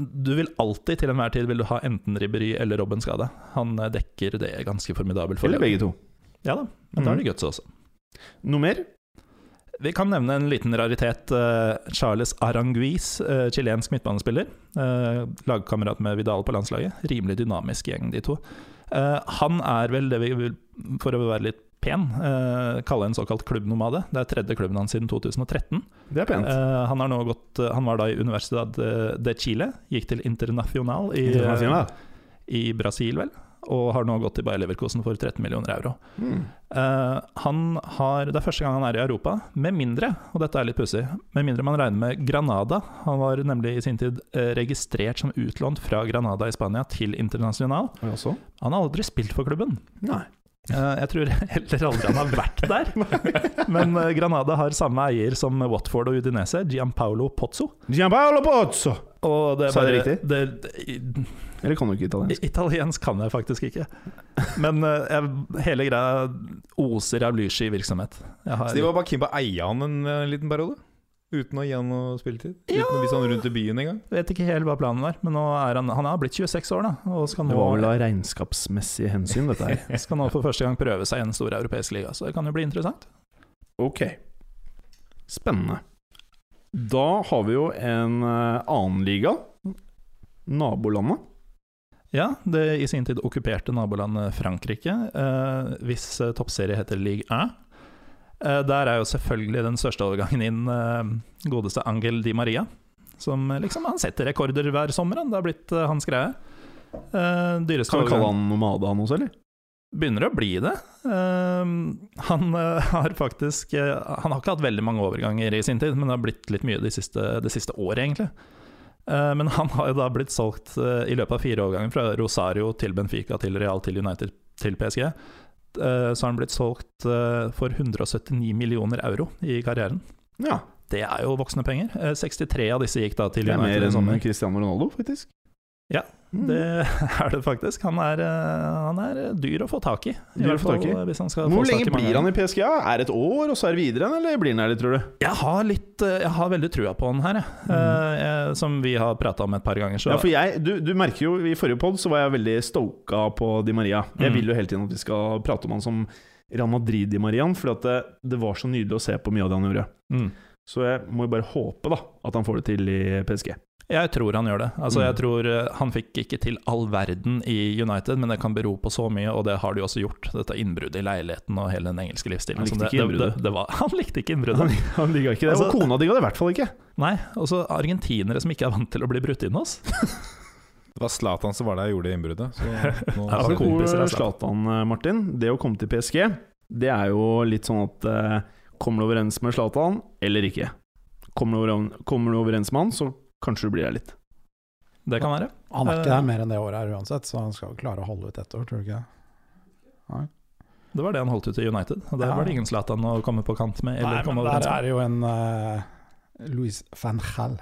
Speaker 3: Du vil alltid, til enhver tid, vil du ha enten Ribberi eller Robben skade. Han eh, dekker det ganske formidabelt.
Speaker 2: Eller
Speaker 3: foreløpig.
Speaker 2: begge to. Mm.
Speaker 3: Ja da, men da er det guts også.
Speaker 2: Noe mer?
Speaker 3: Vi kan nevne en liten raritet. eh, Charles Aranguiz, eh, chilensk midtbanespiller. eh, Lagkamerat med Vidal på landslaget. Rimelig dynamisk gjeng, de to. Eh, Han er vel det vi vil, for å være litt pen, eh, kalle en såkalt klubbnomade. Det er tredje klubben hans siden 2013.
Speaker 2: Det er pent.
Speaker 3: Eh, Han, har nå gått, eh, han var da i Universidad eh, de Chile, gikk til Internacional i, eh,
Speaker 2: Det var fint, da.
Speaker 3: i Brasil, vel. Og har nå gått til Bayer Leverkosen for 13 millioner euro.
Speaker 2: Mm.
Speaker 3: Eh, han har, det er første gang han er i Europa, med mindre, og dette er litt pussig, med mindre man regner med Granada. Han var nemlig i sin tid eh, registrert som utlånt fra Granada i Spania til Internasjonal.
Speaker 2: Og jeg også?
Speaker 3: Han har aldri spilt for klubben.
Speaker 2: Nei.
Speaker 3: Eh, jeg tror heller aldri han har vært der. Men eh, Granada har samme eier som Watford og Udinese, Gianpaolo Pozzo.
Speaker 2: Gianpaolo Pozzo!
Speaker 3: Og det er
Speaker 2: Sa jeg
Speaker 3: bare-
Speaker 2: det
Speaker 3: det-
Speaker 2: Eller kan du ikke italiensk?
Speaker 3: I- Italiensk kan jeg faktisk ikke. Men eh, jeg, hele greia oser av lyssky virksomhet. Jeg har,
Speaker 5: Så de var bare keen på å eie han en eh, liten periode? Uten å gi han noe spilletid?
Speaker 3: Ja.
Speaker 5: Uten å vise han rundt i byen engang?
Speaker 3: vet ikke helt hva planen var, men nå er han, han har blitt 26 år, da. Og skal
Speaker 2: Det
Speaker 3: nå,
Speaker 2: var vel av regnskapsmessige hensyn, dette her.
Speaker 3: skal nå for første gang prøve seg i en stor europeisk liga, så det kan jo bli interessant.
Speaker 2: ok. Spennende. Da har vi jo en eh, annen liga. Nabolandet.
Speaker 3: Ja, det i sin tid okkuperte nabolandet Frankrike, eh, hvis eh, toppserie heter Ligue 1. Eh, der er jo selvfølgelig den største overgangen inn eh, godeste Angel Di Maria. Som eh, liksom, han setter rekorder hver sommer, han. Det har blitt eh, hans greie. Eh, dyreste
Speaker 2: Kan vi
Speaker 3: overgang-
Speaker 2: kalle han nomade, han også, eller?
Speaker 3: begynner å bli det. Ehm, han eh, har faktisk eh, Han har ikke hatt veldig mange overganger i sin tid, men det har blitt litt mye det siste, det siste året, egentlig. Eh, men han har jo da blitt solgt eh, i løpet av fire overganger fra Rosario til Benfica til Real til United til PSG. Eh, så har han blitt solgt eh, for 179 millioner euro i karrieren.
Speaker 2: Ja.
Speaker 3: Det er jo voksne penger. Eh, 63 av disse gikk da til
Speaker 2: Det er
Speaker 3: United
Speaker 2: mer
Speaker 3: i sommer.
Speaker 2: enn Cristiano Ronaldo, faktisk.
Speaker 3: Ja,
Speaker 2: Mm.
Speaker 3: Det er det faktisk. Han er, eh, han er dyr å få tak i. i
Speaker 2: Dyr å
Speaker 3: hvert
Speaker 2: få tak i.
Speaker 3: fall hvis han skal få
Speaker 2: Hvor
Speaker 3: tak i
Speaker 2: lenge
Speaker 3: mange
Speaker 2: blir han i PSG? Er det et år, og så er det videre igjen, eller blir han her litt, tror du?
Speaker 3: Jeg har, litt, eh, jeg har veldig trua på han her, jeg. Eh, jeg. Som vi har prata om et par ganger. Så
Speaker 2: Mm. Ja, for jeg, du, du merker jo, i forrige pod så var jeg veldig stoka på Di Maria. Jeg
Speaker 3: Mm.
Speaker 2: vil jo hele tiden at vi skal prate om han som Real Madrid-Di Marian, for det, det var så nydelig å se på mye av det han gjorde.
Speaker 3: mm.
Speaker 2: Så jeg må jo bare håpe da at han får det til i PSG.
Speaker 3: Jeg tror han gjør det. Altså,
Speaker 2: Mm.
Speaker 3: jeg tror eh, Han fikk ikke til all verden i United, men det kan bero på så mye, og det har de også gjort. Dette innbruddet i leiligheten og hele den engelske livsstilen.
Speaker 2: Han
Speaker 3: Så
Speaker 2: likte
Speaker 3: det-
Speaker 2: ikke
Speaker 3: det-
Speaker 2: innbruddet.
Speaker 3: det- det var- Han likte ikke innbruddet.
Speaker 2: Han digga ikke det.
Speaker 3: Altså-
Speaker 2: og kona digga det i hvert fall ikke.
Speaker 3: Nei, og så argentinere som ikke er vant til å bli brutt inn hos.
Speaker 5: Det var Zlatan som var der og gjorde det innbruddet. Så nå,
Speaker 3: Ja,
Speaker 5: så-
Speaker 3: det
Speaker 2: Apropos
Speaker 3: kompiser, altså.
Speaker 2: Zlatan, eh, Martin. Det å komme til PSG, det er jo litt sånn at eh, Kommer du overens med Zlatan, eller ikke? Kommer du, overens, kommer du overens med han, så kanskje du blir der litt.
Speaker 3: Det kan være.
Speaker 4: Han er
Speaker 3: Eh.
Speaker 4: ikke der mer enn det året her uansett, så han skal jo klare å holde ut ett år, tror du ikke?
Speaker 3: Det var det han holdt ut i United. Og der
Speaker 4: Ja.
Speaker 3: var det ingen Zlatan å komme på kant med. Eller
Speaker 4: Nei,
Speaker 3: komme
Speaker 4: men
Speaker 3: overens
Speaker 4: der
Speaker 3: med.
Speaker 4: er jo en uh, Louis van Gaal.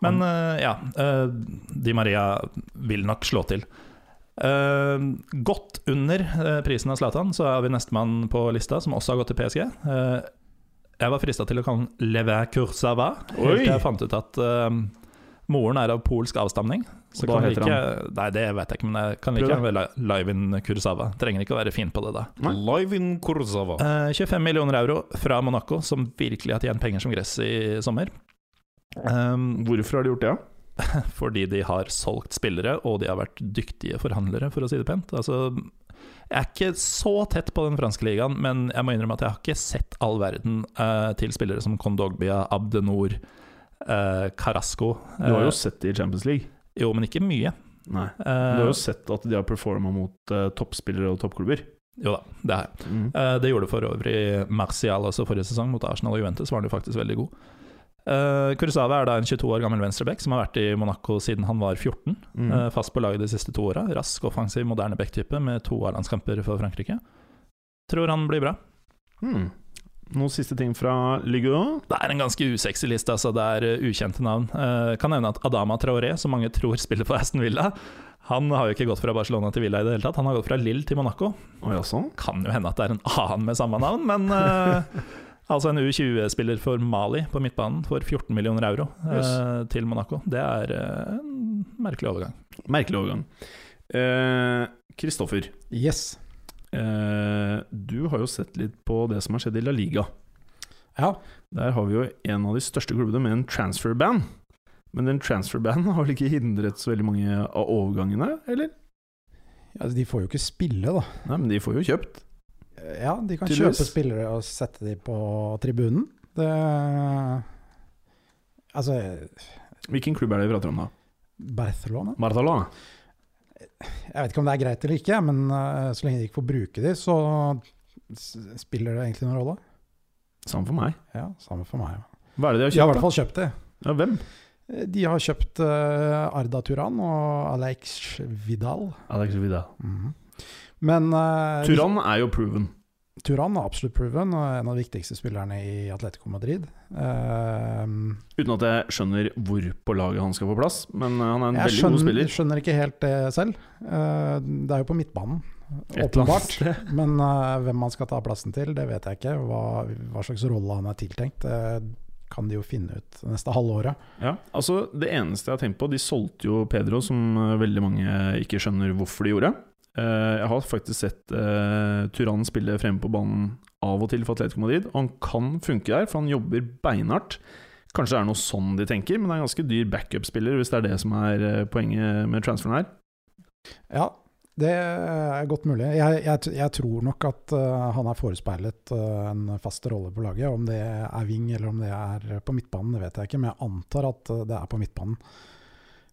Speaker 3: Men eh, ja, eh, Di Maria vil nok slå til. Eh, godt under eh, prisen av Zlatan så er vi nestemann på lista, som også har gått til PSG. Eh, jeg var frista til å kalle den Lever Kursava,
Speaker 2: Oi!
Speaker 3: helt til jeg fant ut at eh, moren er av polsk avstamning. Så
Speaker 2: Og da
Speaker 3: kan vi
Speaker 2: heter
Speaker 3: ikke, Nei, det vet jeg ikke, men jeg kan
Speaker 2: Prøv
Speaker 3: like
Speaker 2: det.
Speaker 3: gjerne være li- live in Kursava. Trenger ikke å være fin på det, da.
Speaker 5: Live in Kurzava.
Speaker 3: Eh, 25 millioner euro fra Monaco, som virkelig har tjent penger som gress i sommer. Um,
Speaker 2: Hvorfor har de gjort det? da?
Speaker 3: fordi de har solgt spillere, og de har vært dyktige forhandlere, for å si det pent. Altså, jeg er ikke så tett på den franske ligaen, men jeg må innrømme at jeg har ikke sett all verden eh, til spillere som Kondogbia, Abdenor, eh, Carasco
Speaker 2: Du har
Speaker 3: Eh,
Speaker 2: jo sett det i Champions League.
Speaker 3: jo, men ikke mye.
Speaker 2: Nei.
Speaker 3: Eh,
Speaker 2: Du har jo sett at de har performa mot eh, toppspillere og toppklubber.
Speaker 3: jo da, det har jeg.
Speaker 2: Mm.
Speaker 3: Eh, Det gjorde for øvrig Martial også forrige sesong, mot Arsenal og Juventus var han jo faktisk veldig god. Eh, Kurzawa er da en 22 år gammel venstreback som har vært i Monaco siden han var 14.
Speaker 2: Mm.
Speaker 3: eh, Fast på laget de siste to åra. Rask, offensiv, moderne backtype med to A-landskamper for Frankrike. Tror han blir bra.
Speaker 2: Mm. Noen siste ting fra Ligue 1?
Speaker 3: Det er en ganske usexy liste, altså. Det er eh, ukjente navn. Eh, Kan nevne at Adama Traoré, som mange tror spiller for Aston Villa, han har jo ikke gått fra Barcelona til Villa i det hele tatt. Han har gått fra Lill til Monaco.
Speaker 2: Å ja, sånn?
Speaker 3: kan jo hende at det er en annen med samme navn, men eh, Altså en U20-spiller for Mali på midtbanen for 14 millioner euro eh,
Speaker 2: Yes.
Speaker 3: til Monaco. Det er eh, en merkelig overgang.
Speaker 2: Merkelig overgang. Eh, Kristoffer,
Speaker 4: Yes.
Speaker 2: eh, du har jo sett litt på det som har skjedd i La Liga.
Speaker 4: Ja.
Speaker 2: Der har vi jo en av de største klubbene med en transfer-band. Men den transfer-banden har vel ikke hindret så veldig mange av overgangene, eller?
Speaker 4: Altså, de får jo ikke spille, da.
Speaker 2: Nei, men de får jo kjøpt.
Speaker 4: Ja, de kan
Speaker 2: Tydeligvis.
Speaker 4: kjøpe spillere og sette de på tribunen. Det Altså,
Speaker 2: Hvilken klubb er det vi prater om da?
Speaker 4: Barcelona
Speaker 2: Barcelona.
Speaker 4: Jeg vet ikke om det er greit eller ikke, men eh, så lenge de ikke får bruke de, så s- spiller det egentlig noen rolle.
Speaker 2: Samme for meg.
Speaker 4: Ja, samme for meg. ja.
Speaker 2: Hva er det de har
Speaker 4: De har i
Speaker 2: kjøpt?
Speaker 4: hvert fall kjøpt de.
Speaker 2: da? Ja, hvem?
Speaker 4: Eh, De har kjøpt eh, Arda Turan og Alex Vidal.
Speaker 2: Alex Vidal.
Speaker 4: Mhm. Men eh,
Speaker 2: Turan er jo proven.
Speaker 4: Turan er absolutt proven, og en av de viktigste spillerne i Atletico Madrid. Eh,
Speaker 2: Uten at jeg skjønner hvor på laget han skal få plass, men eh, han er en
Speaker 4: jeg
Speaker 2: veldig god
Speaker 4: skjønner,
Speaker 2: spiller.
Speaker 4: skjønner ikke helt det selv. Eh, det er jo på midtbanen,
Speaker 2: Et eller annet
Speaker 4: åpenbart.
Speaker 2: sted.
Speaker 4: Men eh, hvem man skal ta plassen til, det vet jeg ikke. Hva, hva slags rolle han er tiltenkt, det kan de jo finne ut det neste halvåret.
Speaker 2: Ja, altså Det eneste jeg har tenkt på De solgte jo Pedro, som eh, veldig mange ikke skjønner hvorfor de gjorde. Eh, Jeg har faktisk sett eh, Turan spille fremme på banen av og til for Atletico Madrid, og han kan funke der, for han jobber beinhardt. Kanskje det er noe sånn de tenker, men det er en ganske dyr backup-spiller, hvis det er det som er eh, poenget med transferen her.
Speaker 4: Ja, det er godt mulig. Jeg, jeg, t- jeg tror nok at eh, han er forespeilet eh, en fast rolle på laget. Om det er wing eller om det er på midtbanen, det vet jeg ikke, men jeg antar at eh, det er på midtbanen.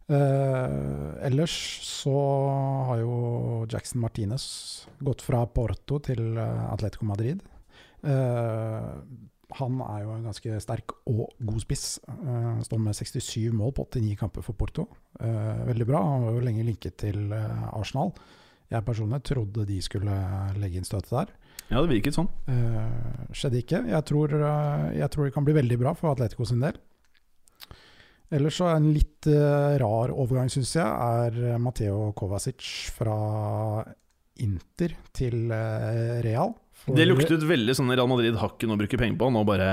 Speaker 4: Eh, ellers så har jo Jackson Martinez gått fra Porto til eh, Atletico Madrid. Eh, han er jo en ganske sterk og god spiss. Eh, står med 67 mål på 89 kamper for Porto. Eh, veldig bra. Han var jo lenge linket til eh, Arsenal. Jeg personlig trodde de skulle legge inn støtet der.
Speaker 2: Ja, det virket sånn.
Speaker 4: Eh, skjedde ikke. Jeg tror, eh, jeg tror det kan bli veldig bra for Atletico sin del. Ellers så er en litt eh, rar overgang, syns jeg, er eh, Mateo Kovacic fra Inter til eh, Real. For-
Speaker 2: Det luktet veldig sånn Real Madrid har ikke noe å bruke penger på, nå bare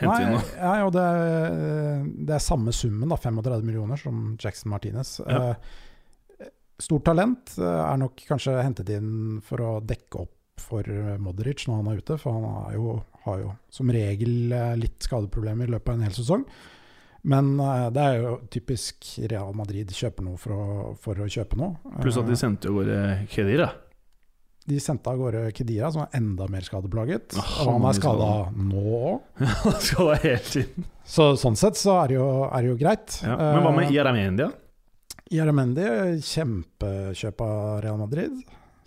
Speaker 2: henter vi
Speaker 4: Nei,
Speaker 2: noe.
Speaker 4: ja, og det, er, eh, det er samme summen, da, 35 millioner, som Jackson Martinez.
Speaker 2: Ja.
Speaker 4: Eh, Stort talent eh, er nok kanskje hentet inn for å dekke opp for eh, Modric når han er ute, for han har jo, har jo som regel eh, litt skadeproblemer i løpet av en hel sesong. Men eh, det er jo typisk Real Madrid kjøper noe for å, for å kjøpe noe.
Speaker 2: Pluss at de
Speaker 4: Eh,
Speaker 2: sendte jo våre Kedira.
Speaker 4: de sendte av gårde Kedira, som er enda mer skadeplaget.
Speaker 2: Ja,
Speaker 4: og han
Speaker 2: han er
Speaker 4: er skada nå òg.
Speaker 2: Han skal være helt inn.
Speaker 4: Så sånn sett så er det jo, er det jo greit. Eh,
Speaker 2: Ja. Men hva med Iaramendia?
Speaker 4: Jaramendi, kjempekjøp av Real Madrid.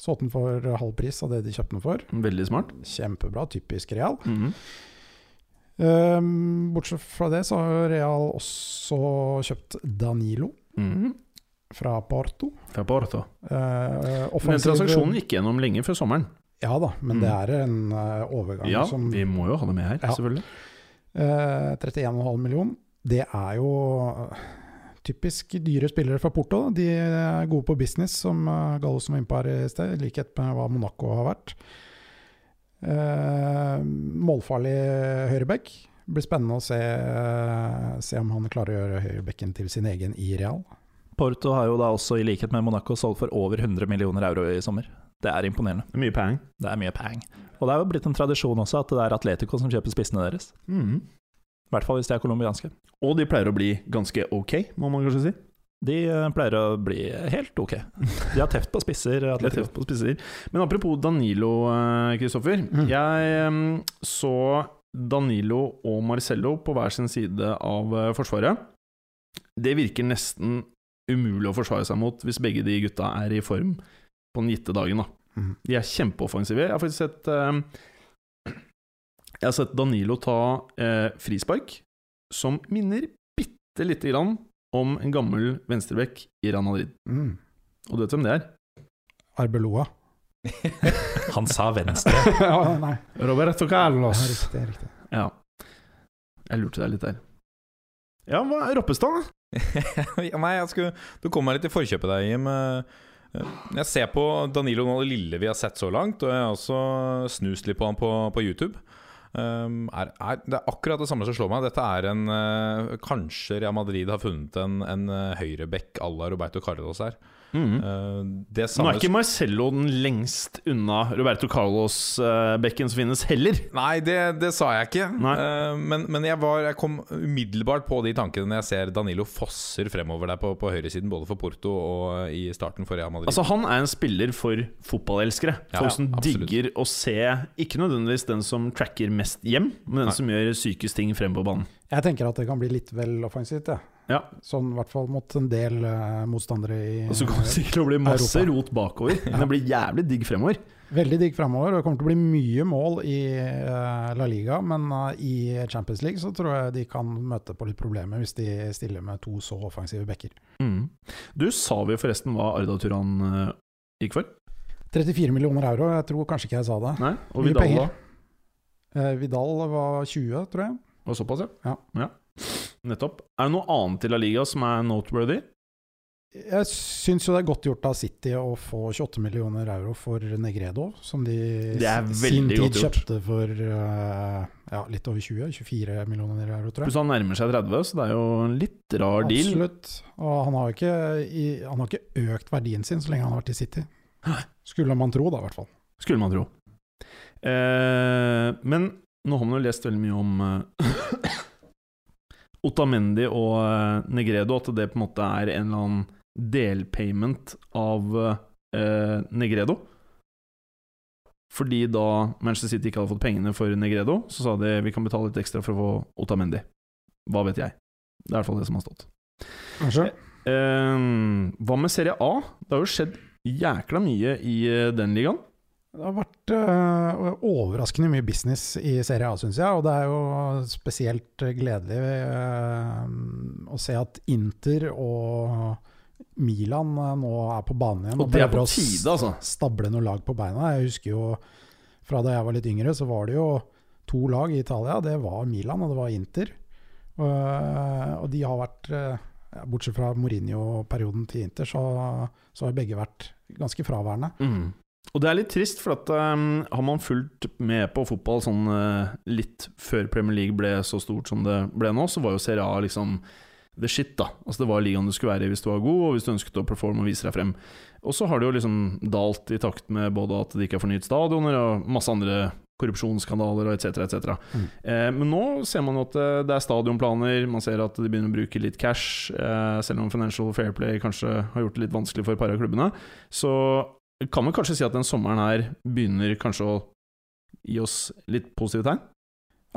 Speaker 4: Solgte den for halv pris av det de kjøpte den for.
Speaker 2: Veldig smart.
Speaker 4: Kjempebra, typisk Real.
Speaker 2: Mhm.
Speaker 4: Ehm, bortsett fra det så har Real også kjøpt Danilo
Speaker 2: Mhm.
Speaker 4: fra Porto.
Speaker 2: Fra Porto.
Speaker 4: Uh,
Speaker 2: Den transaksjonen gikk gjennom lenge før sommeren.
Speaker 4: Ja da, men
Speaker 2: Mm.
Speaker 4: det er en eh, overgang
Speaker 2: Ja,
Speaker 4: som
Speaker 2: vi må jo ha det med her,
Speaker 4: Ja.
Speaker 2: selvfølgelig.
Speaker 4: eh, 31,5 million. Det er jo eh, typisk dyre spillere fra Porto. da. De er gode på business, som eh, Gallo som var inne på her i sted, i likhet med hva Monaco har vært. Eh, målfarlig høyreback. Blir spennende å se, eh, se om han klarer å gjøre høyrebacken til sin egen i Real.
Speaker 3: Porto har jo da også, i likhet med Monaco, solgt for over 100 millioner euro i sommer. Det er imponerende.
Speaker 2: Det er mye peng.
Speaker 3: Det er mye peng. Og det er jo blitt en tradisjon også at det er Atletico som kjøper spissene deres.
Speaker 2: Mhm.
Speaker 3: I hvert fall hvis de er colombianske.
Speaker 2: Og de pleier å bli ganske ok, må man kanskje si.
Speaker 3: De eh, pleier å bli helt ok. De har teft på spisser.
Speaker 2: Litt
Speaker 3: Atletico.
Speaker 2: tøft på spisser. Men apropos Danilo, eh, Kristoffer.
Speaker 4: Mm.
Speaker 2: Jeg eh, så Danilo og Marcello på hver sin side av eh, Forsvaret. Det virker nesten umulig å forsvare seg mot hvis begge de gutta er i form på den gitte dagen. da.
Speaker 4: Mhm.
Speaker 2: De er kjempeoffensive. Jeg har faktisk sett eh, Jeg har sett Danilo ta eh, frispark som minner bitte lite grann om en gammel venstrebekk i Real Madrid.
Speaker 4: Mm.
Speaker 2: Og du vet hvem det er?
Speaker 4: Arbeloa.
Speaker 3: Han sa venstre.
Speaker 4: ja, nei,
Speaker 2: Roberto
Speaker 4: ja,
Speaker 2: Carlos.
Speaker 4: riktig, riktig.
Speaker 2: Ja. Jeg lurte deg litt der. Ja, hva er Roppestad?
Speaker 5: Ja, Nei, jeg skulle, du kom meg litt i forkjøpet der, Jim. Eh, Jeg ser på Danilo nå, det lille vi har sett så langt, og jeg har også snust litt på han på, på YouTube. Um, er, er, det er akkurat det samme som slår meg. Dette er en eh, Kanskje Real Madrid har funnet en, en eh, høyreback à la Roberto Carlos her.
Speaker 2: Mm.
Speaker 5: Eh, det
Speaker 2: Nå
Speaker 5: samme
Speaker 2: er ikke Marcello den lengst unna Roberto Carlos-bekken som finnes, heller.
Speaker 5: Nei, det, det sa jeg ikke.
Speaker 2: Nei.
Speaker 5: Eh, men men jeg, var, jeg kom umiddelbart på de tankene når jeg ser Danilo fosser fremover der på, på høyresiden, både for Porto og eh, i starten for Real Madrid.
Speaker 2: Altså Han er en spiller for fotballelskere.
Speaker 5: Ja,
Speaker 2: Folk som
Speaker 5: absolutt.
Speaker 2: digger å se ikke nødvendigvis den som tracker mest hjem, men den
Speaker 5: Nei.
Speaker 2: som gjør sykest ting fremme på banen.
Speaker 4: Jeg tenker at det kan bli litt vel offensivt, jeg.
Speaker 2: Ja.
Speaker 4: Sånn i hvert fall mot en del eh, motstandere i
Speaker 2: Og så kommer det sikkert til å bli masse rot bakover, men det blir jævlig digg fremover.
Speaker 4: Veldig digg framover. Det kommer til å bli mye mål i eh, La Liga, men eh, i Champions League så tror jeg de kan møte på litt problemer hvis de stiller med to så offensive backer.
Speaker 2: Mm. Du, sa vi forresten hva Arda Turan eh, gikk for?
Speaker 4: 34 millioner euro, jeg tror kanskje ikke jeg sa det.
Speaker 2: Nei? Og
Speaker 4: Mye
Speaker 2: Vidal,
Speaker 4: penger.
Speaker 2: da?
Speaker 4: Eh, Vidal var 20, tror jeg.
Speaker 2: Og såpass,
Speaker 4: Ja.
Speaker 2: Nettopp. Er det noe annet i La Liga som er noteworthy?
Speaker 4: Jeg syns jo det er godt gjort av City å få 28 millioner euro for Negredo, som de
Speaker 2: Det er
Speaker 4: i
Speaker 2: veldig
Speaker 4: sin
Speaker 2: godt
Speaker 4: tid
Speaker 2: gjort.
Speaker 4: kjøpte for eh, ja, litt over 20, 24 millioner euro, tror jeg.
Speaker 2: Pluss han nærmer seg 30, så det er jo en litt rar deal.
Speaker 4: Absolutt. Og han har, ikke, i, han har ikke økt verdien sin så lenge han har vært i City. Skulle man tro, da, i hvert fall.
Speaker 2: Skulle man tro. Eh, men nå har man jo lest veldig mye om eh, Otamendi og eh, Negredo, at det på en måte er en eller annen delpayment av eh, Negredo. Fordi da Manchester City ikke hadde fått pengene for Negredo, så sa de vi kan betale litt ekstra for å få Otamendi. Hva vet jeg. Det er i hvert fall det som har stått.
Speaker 4: Kanskje?
Speaker 2: Ehm, hva med Serie A? Det har jo skjedd jækla mye i eh, den ligaen.
Speaker 4: Det har vært eh, overraskende mye business i Serie A, syns jeg. Og det er jo spesielt gledelig eh, å se at Inter og Milan eh, nå er på banen igjen.
Speaker 2: Og det er på
Speaker 4: prøver å s-
Speaker 2: tide, altså.
Speaker 4: stable noe lag på beina. Jeg husker jo fra da jeg var litt yngre, så var det jo to lag i Italia. Det var Milan og det var Inter. Eh, og de har vært eh, ja, Bortsett fra Mourinho-perioden til Inter, så, så har begge vært ganske fraværende.
Speaker 2: Mm. Og det er litt trist, for at ehm, har man fulgt med på fotball sånn eh, litt før Premier League ble så stort som det ble nå, så var jo Serie A liksom the shit, da. Altså Det var ligaen du skulle være i hvis du var god, og hvis du ønsket å performe og vise deg frem. Og så har det jo liksom dalt i takt med både at det ikke er fornyet stadioner, og masse andre korrupsjonsskandaler og etc. etc. Eh, men nå ser man jo at eh, det er stadionplaner, man ser at de begynner å bruke litt cash. Eh, selv om Financial Fair Play kanskje har gjort det litt vanskelig for et par av klubbene. Så kan vi kanskje si at den sommeren her begynner kanskje å gi oss litt positive tegn?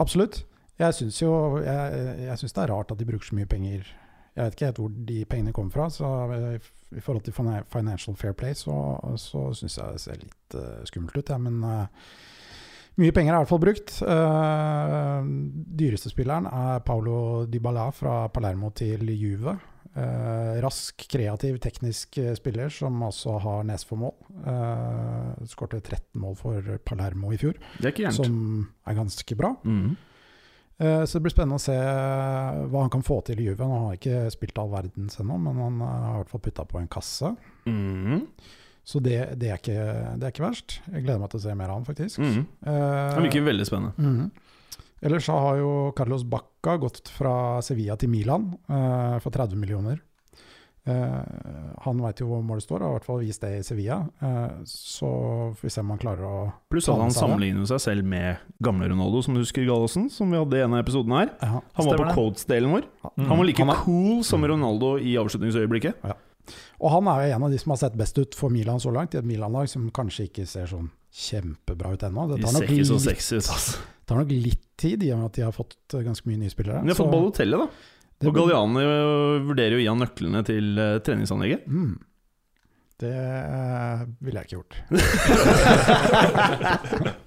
Speaker 4: Absolutt. Jeg syns jo jeg, jeg synes det er rart at de bruker så mye penger. Jeg vet ikke helt hvor de pengene kommer fra. Så eh, i forhold til fina- Financial Fair Play, så, så syns jeg det ser litt eh, skummelt ut, jeg. Men eh, mye penger er i hvert fall brukt. Eh, dyreste spilleren er Paulo Dybala fra Palermo til Juve. Eh, rask, kreativ, teknisk eh, spiller som altså har nes for mål. Uh, Skårte 13 mål for Palermo i fjor,
Speaker 2: Det er ikke gærent.
Speaker 4: som er ganske bra.
Speaker 2: Mhm.
Speaker 4: Eh, Så det blir spennende å se eh, hva han kan få til i Juve. Han har ikke spilt all verdens ennå, men han eh, har i hvert fall putta på en kasse.
Speaker 2: Mhm.
Speaker 4: Så det, det, er ikke, det er ikke verst. Jeg gleder meg til å se mer av han, faktisk.
Speaker 2: Mhm.
Speaker 4: Eh,
Speaker 2: Det virker veldig spennende.
Speaker 4: mhm. Ellers så har jo Carlos Bacca gått fra Sevilla til Milan eh, for 30 millioner. Eh, han veit jo hvor målet står, og har i hvert fall vist det i Sevilla. Eh, så får vi se om han klarer å
Speaker 2: Pluss
Speaker 4: Ta
Speaker 2: at
Speaker 4: med
Speaker 2: han
Speaker 4: seg det.
Speaker 2: sammenligner seg selv med gamle Ronaldo, som du husker Gallosen, som vi hadde i en av episodene her.
Speaker 4: Ja.
Speaker 2: Han var
Speaker 3: Stemmer
Speaker 2: på
Speaker 3: det.
Speaker 2: codes-delen vår.
Speaker 4: Mm.
Speaker 2: Han var like cool som Ronaldo i avslutningsøyeblikket.
Speaker 4: Og han er jo en av de som har sett best ut for Milan så langt, i et Milan-lag som kanskje ikke ser sånn kjempebra ut ennå. Det
Speaker 2: De
Speaker 4: tar
Speaker 2: ser
Speaker 4: nok,
Speaker 2: ikke så
Speaker 4: litt,
Speaker 2: sexy ut, altså.
Speaker 4: tar nok litt tid, i og med at de har fått eh, ganske mye nye spillere.
Speaker 2: Men de har
Speaker 4: Så
Speaker 2: fått Balotelli, da.
Speaker 4: det
Speaker 2: Og
Speaker 4: blir-
Speaker 2: Galliani øh, vurderer jo å gi han nøklene til øh, treningsanlegget.
Speaker 4: Mm. Det eh, ville jeg ikke gjort.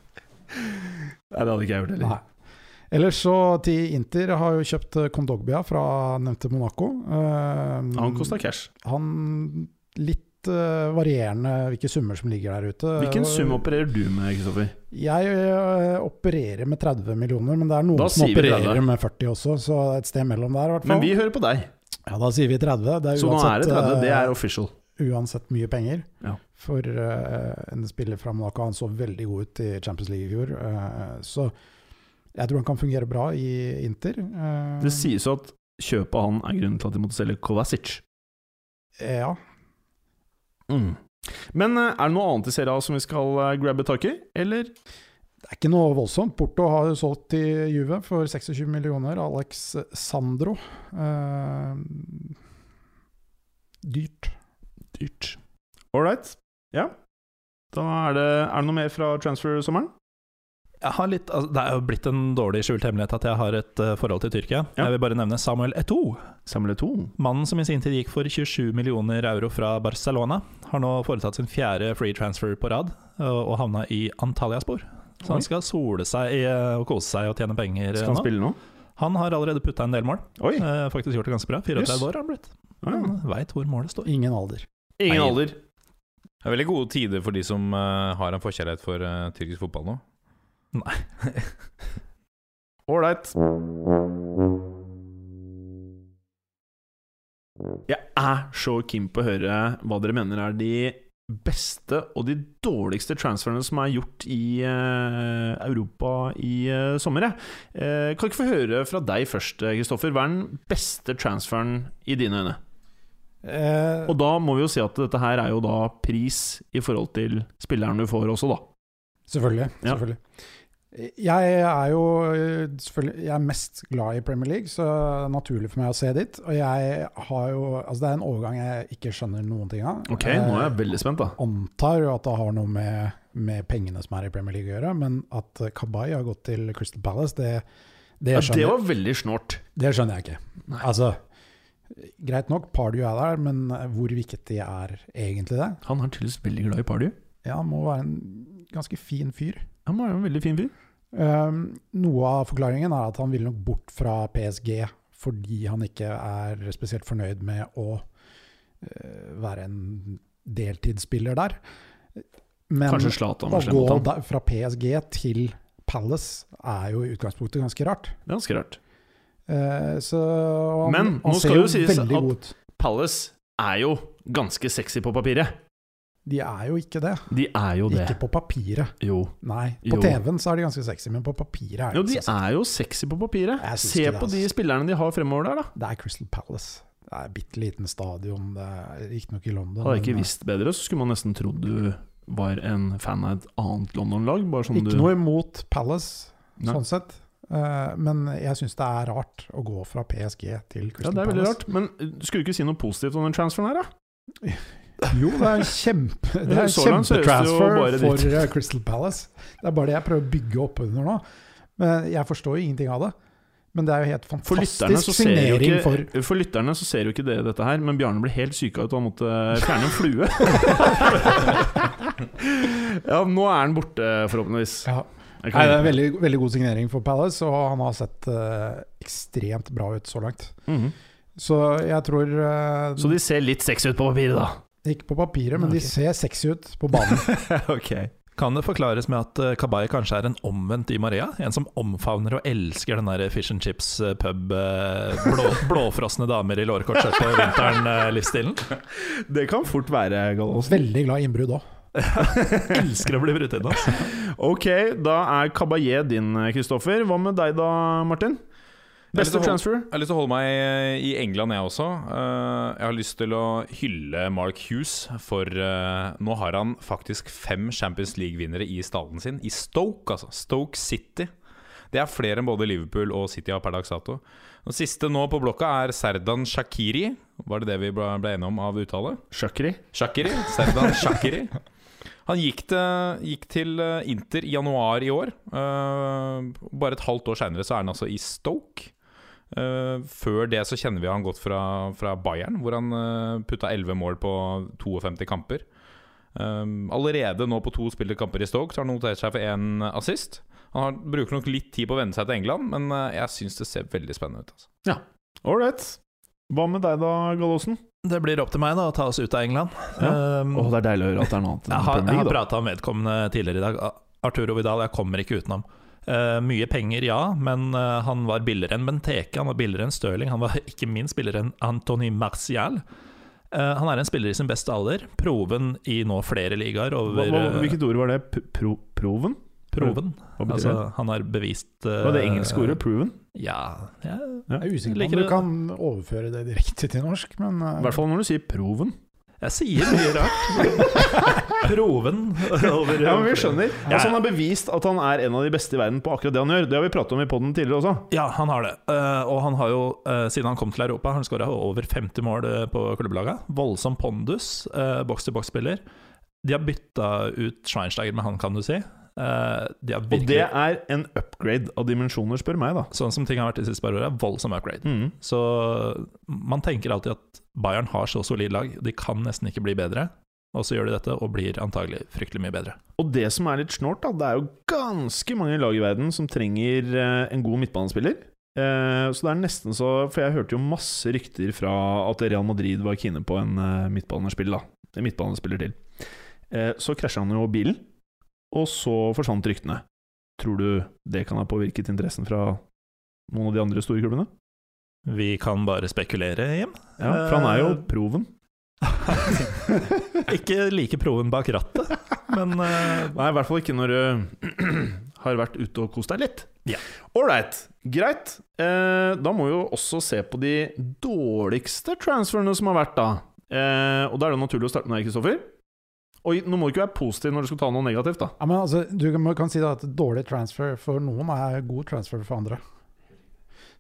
Speaker 2: Nei, det hadde ikke jeg gjort heller.
Speaker 4: Nei. Ellers så til Inter har jo kjøpt eh, Kondogbia fra nevnte Monaco. Eh,
Speaker 2: Han kosta cash.
Speaker 4: han- litt eh, varierende hvilke summer som ligger der ute.
Speaker 2: Hvilken sum opererer du med, Kristoffer?
Speaker 4: Jeg ø, opererer med 30 millioner, men det er noen
Speaker 2: Da
Speaker 4: som
Speaker 2: sier vi
Speaker 4: opererer
Speaker 2: 30.
Speaker 4: med 40 også, så et sted mellom der, i hvert
Speaker 2: Men
Speaker 4: fall.
Speaker 2: vi hører på deg,
Speaker 4: ja, da sier vi 30. Det er
Speaker 2: så nå er
Speaker 4: uansett,
Speaker 2: det 30.
Speaker 4: ø,
Speaker 2: Det er official.
Speaker 4: uansett mye penger.
Speaker 2: Ja.
Speaker 4: For ø, en spiller fra Monaco, han så veldig god ut i Champions League i fjor, ø, så jeg tror han kan fungere bra i Inter. eh, ø,
Speaker 2: Det sies jo at kjøpet av han er grunnen til at de måtte selge Kovacic.
Speaker 4: ja.
Speaker 2: Mm. Men øh, er det noe annet i serien som vi skal øh, grabbe tak i, eller?
Speaker 4: Det er ikke noe voldsomt. Porto har jo solgt til Juve for 26 millioner. Alex Sandro. ø, dyrt.
Speaker 2: Dyrt. All right. Ja. Da er det, er det noe mer fra transfer-sommeren?
Speaker 3: Jeg har litt, altså, det er jo blitt en dårlig skjult hemmelighet at jeg har et eh, forhold til Tyrkia.
Speaker 2: Ja.
Speaker 3: Jeg vil bare nevne Samuel Eto'o.
Speaker 2: Samle to.
Speaker 3: Mannen som i sin tid gikk for 27 millioner euro fra Barcelona, har nå foretatt sin fjerde free transfer på rad ø, og havna i Antalyaspor. Så
Speaker 2: Oi.
Speaker 3: han skal sole seg i, ø, og kose seg og tjene penger ø,
Speaker 2: Skal han
Speaker 3: nå.
Speaker 2: spille nå?
Speaker 3: Han har allerede putta en del mål.
Speaker 2: Oi!
Speaker 3: Eh, faktisk gjort det ganske bra. 34
Speaker 2: Yes.
Speaker 3: år har han blitt.
Speaker 2: Ja, ja.
Speaker 3: Han veit hvor målet står.
Speaker 4: Ingen alder.
Speaker 2: Ingen
Speaker 5: Nei.
Speaker 2: alder.
Speaker 5: Det er veldig gode tider for de som eh, har en forkjærlighet for eh, tyrkisk fotball nå.
Speaker 2: Ålreit. Jeg er så keen på å høre hva dere mener er de beste og de dårligste transferene som er gjort i eh, Europa i eh, sommer. jeg. Eh, kan ikke få høre fra deg først, eh, Kristoffer. Hva er den beste transferen i dine øyne?
Speaker 4: Eh,
Speaker 2: Og da må vi jo si at dette her er jo da pris i forhold til spilleren du får også, da.
Speaker 4: Selvfølgelig.
Speaker 2: Ja.
Speaker 4: selvfølgelig. Jeg er jo eh, selvfølgelig jeg er mest glad i Premier League, så det er naturlig for meg å se dit. Og jeg har jo Altså, det er en overgang jeg ikke skjønner noen ting av. Eh,
Speaker 2: Ok, nå er jeg veldig spent, da.
Speaker 4: Antar jo at det har noe med, med pengene som er i Premier League å gjøre, men at eh, Kabay har gått til Crystal Palace, det, det,
Speaker 2: Ja,
Speaker 4: skjønner,
Speaker 2: det
Speaker 4: jeg-
Speaker 2: var veldig snålt.
Speaker 4: det skjønner jeg ikke. Altså, greit nok, Pardew er der, men eh, hvor viktig er egentlig det?
Speaker 2: Han er tydeligvis veldig glad i Pardew.
Speaker 4: Ja, han må være en ganske fin fyr.
Speaker 2: Han er jo en veldig fin fyr.
Speaker 4: Um, noe av forklaringen er at han ville nok bort fra PSG fordi han ikke er spesielt fornøyd med å eh, være en deltidsspiller der. Men
Speaker 2: Kanskje Zlatan
Speaker 4: å
Speaker 2: var slem
Speaker 4: gå
Speaker 2: mot ham.
Speaker 4: der, fra PSG til Palace er jo i utgangspunktet ganske rart.
Speaker 2: Det er ganske rart.
Speaker 4: Eh, så og han,
Speaker 2: Men nå
Speaker 4: han
Speaker 2: skal
Speaker 4: ser jo
Speaker 2: det sies
Speaker 4: veldig
Speaker 2: at-
Speaker 4: god ut.
Speaker 2: Palace er jo ganske sexy på papiret.
Speaker 4: De er jo ikke det.
Speaker 2: De er jo det.
Speaker 4: Ikke på papiret.
Speaker 2: Jo.
Speaker 4: Nei, på
Speaker 2: Jo.
Speaker 4: TV-en så er de ganske sexy, men på papiret er
Speaker 2: jo,
Speaker 4: de
Speaker 2: de
Speaker 4: ikke så sexy.
Speaker 2: er jo sexy på papiret.
Speaker 4: Jeg syns
Speaker 2: Se
Speaker 4: ikke det,
Speaker 2: på de
Speaker 4: altså.
Speaker 2: spillerne de har fremover der, da.
Speaker 4: Det er Crystal Palace. Det er bitte liten stadion, det er riktignok i London.
Speaker 2: Hadde jeg
Speaker 4: men-
Speaker 2: ikke visst bedre, så skulle man nesten trodd du var en fan av et annet London-lag? Bare sånn
Speaker 4: eh, Ikke
Speaker 2: du
Speaker 4: noe imot Palace,
Speaker 2: Nei.
Speaker 4: sånn sett. Eh, men jeg syns det er rart å gå fra PSG
Speaker 2: Ja,
Speaker 4: til Crystal
Speaker 2: det er veldig
Speaker 4: Palace.
Speaker 2: rart. Men eh, skulle du ikke si noe positivt om den transferen her, da?
Speaker 4: Jo, det er en kjempe Det er en
Speaker 2: Så langt så høres det jo bare
Speaker 4: kjempetransfer
Speaker 2: dritt.
Speaker 4: for eh, Crystal Palace. Det er bare det jeg prøver å bygge opp under nå. Men jeg forstår jo ingenting av det. Men det er jo helt
Speaker 2: For lytterne,
Speaker 4: fantastisk
Speaker 2: så ser jo
Speaker 4: signering
Speaker 2: ikke,
Speaker 4: for
Speaker 2: for... lytterne så ser jo ikke dere dette her, men Bjarne ble helt syk av at han måtte fjerne en flue. ja, nå er han borte, forhåpentligvis.
Speaker 4: ja.
Speaker 2: Jeg
Speaker 4: Nei,
Speaker 2: kan-
Speaker 4: det er veldig, veldig god signering for Palace, og han har sett eh, ekstremt bra ut så langt.
Speaker 2: Mhm.
Speaker 4: Så jeg tror eh,
Speaker 2: Så de ser litt sexy ut på papiret, da.
Speaker 4: Ikke på papiret, men
Speaker 2: Nei,
Speaker 4: de
Speaker 2: ok.
Speaker 4: ser sexy ut på banen.
Speaker 2: ok
Speaker 3: Kan det forklares med at eh, Kabay kanskje er en omvendt Di Maria? En som omfavner og elsker den der fish and chips eh, pub, eh, blå, blåfrosne damer i lårkortskjørt på eh, vinteren-livsstilen?
Speaker 2: Det kan fort være, Gallosen.
Speaker 4: Veldig glad i innbrudd òg.
Speaker 3: Elsker å bli brutt inn, altså.
Speaker 2: Ok, da er Caballé din, Kristoffer. Hva med deg da, Martin?
Speaker 5: Jeg
Speaker 2: Beste
Speaker 5: har lyst til å holde-
Speaker 2: transfer?
Speaker 5: Jeg har lyst til å holde meg eh, i England, jeg også. Eh, Jeg har lyst til å hylle Mark Hughes, for eh, nå har han faktisk fem Champions League-vinnere i stallen sin. I Stoke, altså. Stoke City. Det er flere enn både Liverpool og City har per dags dato. Den siste nå på blokka er Serdan Shakiri. Var det det vi ble ble enige om av uttale?
Speaker 2: Sjakri.
Speaker 5: Shakiri. Serdan Shakiri. Han gikk til, gikk til eh, Inter i januar i år. Eh, bare et halvt år seinere så er han altså i Stoke. Eh, før det så kjenner vi han godt fra, fra Bayern, hvor han eh, putta 11 mål på 52 kamper. Eh, allerede nå på to spilte kamper i Stoke Så har han notert seg for én assist. Han har, bruker nok litt tid på å venne seg til England, men eh, jeg syns det ser veldig spennende ut. Altså.
Speaker 2: Ålreit. Hva med deg da, Gallosen?
Speaker 3: Det blir opp til meg da å ta oss ut av England. Um,
Speaker 2: Å, det er deilig å høre at det er noe annet
Speaker 3: jeg har,
Speaker 2: Premier
Speaker 3: jeg
Speaker 2: League,
Speaker 3: har
Speaker 2: da.
Speaker 3: prata om vedkommende tidligere i dag. Arturo Vidal, jeg kommer ikke utenom. Eh, mye penger, ja, men eh, han var billigere enn Benteke, han var billigere enn Stirling, han var ikke minst billigere enn Antony Martial. Eh, han er en spiller i sin beste alder, proven i nå flere ligaer
Speaker 2: Hva,
Speaker 3: over
Speaker 2: hva,
Speaker 3: eh,
Speaker 2: hvilket ord var det? P- Pro, proven?
Speaker 3: proven.
Speaker 2: Hva betyr
Speaker 3: Altså,
Speaker 2: det?
Speaker 3: han har bevist eh,
Speaker 2: Var det engelske ordet? Proven?
Speaker 3: Ja, ja.
Speaker 4: Jeg er usikker
Speaker 3: Liker
Speaker 4: på om
Speaker 3: det.
Speaker 4: du kan overføre det direkte til norsk, men eh,
Speaker 2: I hvert fall når du sier proven.
Speaker 3: Jeg sier mye rart. proven over
Speaker 2: Ja, men vi skjønner.
Speaker 3: Ja.
Speaker 2: Altså, han har bevist at han er en av de beste i verden på akkurat det han gjør. Det har vi pratet om i podden tidligere også.
Speaker 3: Ja, han har det. Eh, og han har jo, eh, siden han kom til Europa, han skåra over 50 mål eh, på klubblaga. Voldsom pondus, eh, boks-til-boks-spiller. De har bytta ut Schweinsteiger med han, kan du si. Eh, de har
Speaker 2: Og det
Speaker 3: virkelig,
Speaker 2: er en upgrade av dimensjoner, spør meg, da.
Speaker 3: sånn som ting har vært de siste par åra, voldsom upgrade.
Speaker 2: Mm.
Speaker 3: Så man tenker alltid at Bayern har så solid lag, de kan nesten ikke bli bedre. Og så gjør de dette, og blir antagelig fryktelig mye bedre.
Speaker 2: Og det som er litt snålt, da, det er jo ganske mange lag i verden som trenger eh, en god midtbanespiller. Eh, så det er nesten så For jeg hørte jo masse rykter fra at Real Madrid var kine på en eh, midtbanespiller, da. En midtbanespiller til. Eh, så krasja han jo bilen, og så forsvant ryktene. Tror du det kan ha påvirket interessen fra noen av de andre store klubbene?
Speaker 3: Vi kan bare spekulere, Jim.
Speaker 2: Ja, for han er jo
Speaker 3: Eh,
Speaker 2: proven.
Speaker 3: ikke like proven bak rattet, men eh,
Speaker 2: Nei, i hvert fall ikke når du har vært ute og kost deg litt.
Speaker 3: Ja.
Speaker 2: Ålreit, greit. Eh, da må vi jo også se på de dårligste transferene som har vært, da. Eh, og da er det jo naturlig å starte med deg, Kristoffer. Og nå må du ikke være positiv når du skal ta noe negativt, da.
Speaker 4: ja, men altså, du kan, kan si da at dårlig transfer for noen er god transfer for andre.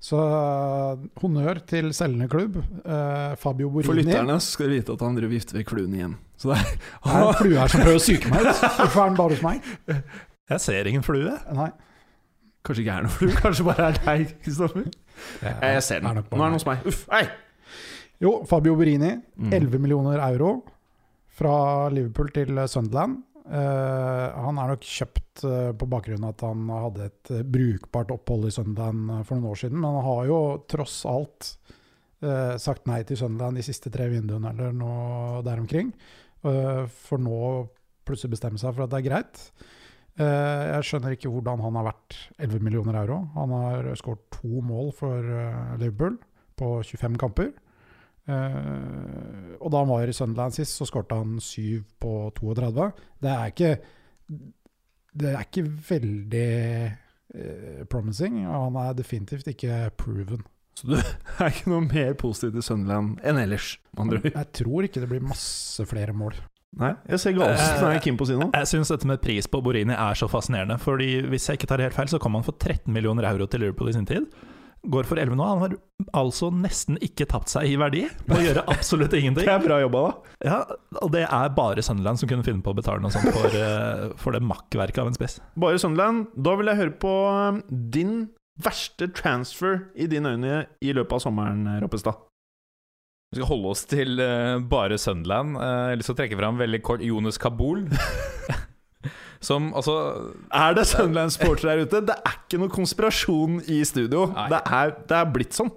Speaker 4: Så eh, honnør til selgende klubb. eh, Fabio Borini.
Speaker 2: skal du vite at han driver gifter ved kluen igjen. Så det er,
Speaker 4: Det er en flue her som prøver å psyke meg ut. Hvorfor er den bare hos meg?
Speaker 3: jeg ser ingen flue.
Speaker 4: Nei.
Speaker 2: kanskje ikke er noe flue, kanskje bare er deg, Kristoffer. Eh, jeg ser
Speaker 4: Er
Speaker 2: den.
Speaker 4: nok bare
Speaker 2: Nå er den
Speaker 4: meg.
Speaker 2: hos meg. Uff, ei!
Speaker 4: Jo, Fabio Borini.
Speaker 2: Mm.
Speaker 4: 11 millioner euro fra Liverpool til Sunderland. Eh, han er nok kjøpt eh, på bakgrunn av at han hadde et eh, brukbart opphold i Sunderland eh, for noen år siden, men han har jo tross alt eh, sagt nei til Sunderland de siste tre vinduene eller noe der omkring. Eh, for nå plutselig bestemme seg for at det er greit. Eh, jeg skjønner ikke hvordan han har vært 11 millioner euro. Han har skåret to mål for eh, Liverpool på 25 kamper. Eh, og da han var i Sunderland sist, så skårte han 7 på 32. Det er ikke Det er ikke veldig eh, promising, og han er definitivt ikke proven.
Speaker 2: Så du er ikke noe mer positiv til Sunderland enn ellers, med andre ord.
Speaker 4: Jeg tror ikke det blir masse flere mål.
Speaker 2: Nei, jeg ser Galesen er keen på å si noe.
Speaker 3: Jeg syns dette med pris på Borini er så fascinerende. Fordi Hvis jeg ikke tar helt feil, så kom han for 13 millioner euro til Liverpool i sin tid. Går for 11 nå. Han har altså nesten ikke tapt seg i verdi på å gjøre absolutt
Speaker 2: Det
Speaker 3: ingenting.
Speaker 2: er bra jobba, da.
Speaker 3: Ja, Og det er bare Sunderland som kunne finne på å betale noe sånt for, eh, for det makkverket av en spiss.
Speaker 2: Bare Sunderland. Da vil jeg høre på um, din verste transfer i dine øyne i løpet av sommeren, Roppestad.
Speaker 5: Vi skal holde oss til eh, bare Sunderland. Eh, jeg har lyst til å trekke fram veldig kort Jonas Kabul. som altså
Speaker 2: Er det Sunderland-sportere der ute? Det er ikke noe konspirasjon i studio.
Speaker 5: Nei.
Speaker 2: Det er, det er blitt sånn.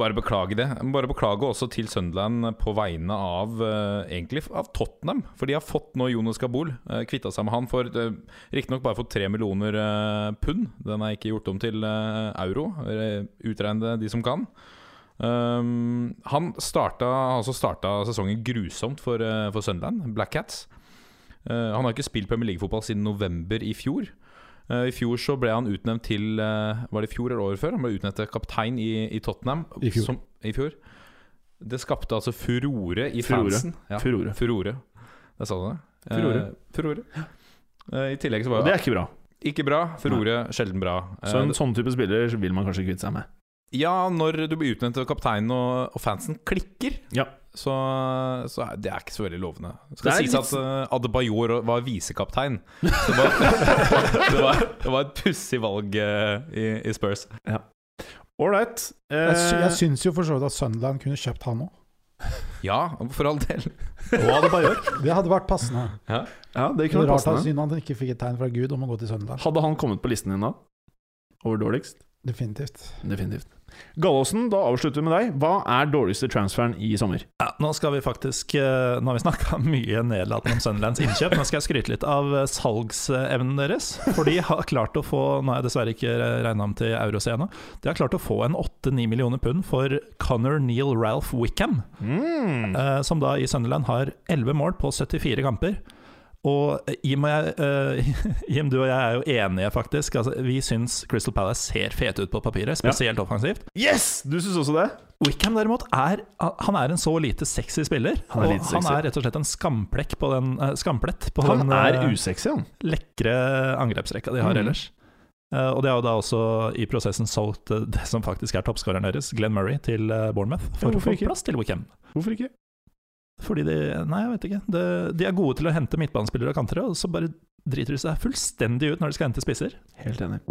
Speaker 5: Bare beklage det. Jeg må Bare beklage også til Sunderland på vegne av eh, egentlig av Tottenham. For de har fått nå Jonas Kabul. Uh, kvitta seg med han for uh, riktignok bare for tre millioner eh, pund. Den er ikke gjort om til eh, euro. Eh, Utregn det, de som kan. Um, han starta, har altså starta sesongen grusomt for, eh, for Sunderland, Black Cats. Eh, han har ikke spilt Premier League-fotball siden november i fjor. Eh, I fjor så ble han utnevnt til eh, Var det i fjor eller året før? Han ble utnevnt til kaptein i, i Tottenham.
Speaker 4: I fjor.
Speaker 5: Som, I fjor. Det skapte altså furore i
Speaker 2: Furore.
Speaker 5: fansen. Ja,
Speaker 2: Furore.
Speaker 5: furore. Der sa du det. Eh,
Speaker 2: Furore.
Speaker 5: furore. Eh, I tillegg så
Speaker 2: Og det
Speaker 5: var det
Speaker 2: er ikke bra.
Speaker 5: ikke bra. Furore, sjelden bra. Eh,
Speaker 2: Så en sånn type spiller vil man kanskje kvitte seg med.
Speaker 5: ja, når du blir utnevnt til kaptein og, og fansen klikker,
Speaker 2: Ja.
Speaker 5: så, så er det er ikke så veldig lovende. Det
Speaker 2: Det
Speaker 5: skal
Speaker 2: er
Speaker 5: sies at uh, Adebayor var visekaptein. Det var, det var, det var et pussig valg eh, i, i Spurs.
Speaker 2: Ålreit.
Speaker 4: Jeg, sy jeg
Speaker 2: Eh,
Speaker 4: syns jo for så vidt at Sunderland kunne kjøpt han òg.
Speaker 5: Ja, for all del.
Speaker 2: og Adebayor.
Speaker 4: Det hadde vært passende.
Speaker 2: Ja, det
Speaker 4: Det er
Speaker 2: kunne vært
Speaker 4: rart at
Speaker 2: passende.
Speaker 4: synd han ikke fikk et tegn fra Gud om å gå til Sunderland.
Speaker 2: Hadde han kommet på listen din da? Over dårligst?
Speaker 4: Definitivt.
Speaker 2: Definitivt. Gallåsen, da avslutter vi med deg. Hva er dårligste transferen i sommer?
Speaker 3: Ja, nå skal vi faktisk eh, Nå har vi snakka mye nedlatende om Sunderlands innkjøp. Nå skal jeg skryte litt av eh, salgsevnen deres. For de har klart å få Nå har jeg dessverre ikke regna om til euros ennå. De har klart å få en 8-9 millioner pund for Connor Neil Ralph Wickham.
Speaker 2: Hmm. Mm.
Speaker 3: eh, som da i Sunderland har 11 mål på 74 kamper. Og eh, Jim, og jeg, eh, Jim, du og jeg er jo enige, faktisk. Altså, vi syns Crystal Palace ser fete ut på papiret, spesielt offensivt.
Speaker 2: Yes! Du syns også det?
Speaker 3: Wickham derimot er, han er en så lite sexy spiller.
Speaker 2: Han er lite
Speaker 3: og
Speaker 2: sexy.
Speaker 3: han er rett og slett en skamplekk på den, eh, skamplett på
Speaker 2: Han
Speaker 3: den
Speaker 2: er
Speaker 3: eh,
Speaker 2: usexy, han.
Speaker 3: lekre angrepsrekka de har
Speaker 2: Mm.
Speaker 3: ellers. Eh, og de har jo da også i prosessen solgt eh, det som faktisk er toppskåreren deres, Glenn Murray, til eh, Bournemouth. For
Speaker 2: Ja,
Speaker 3: å
Speaker 2: hvorfor
Speaker 3: få
Speaker 2: ikke?
Speaker 3: plass til Wickham.
Speaker 2: Hvorfor ikke?
Speaker 3: Fordi de Nei, jeg vet ikke. De, de er gode til å hente midtbanespillere og kantere, og så bare driter de seg fullstendig ut når de skal hente spisser.
Speaker 2: Helt enig.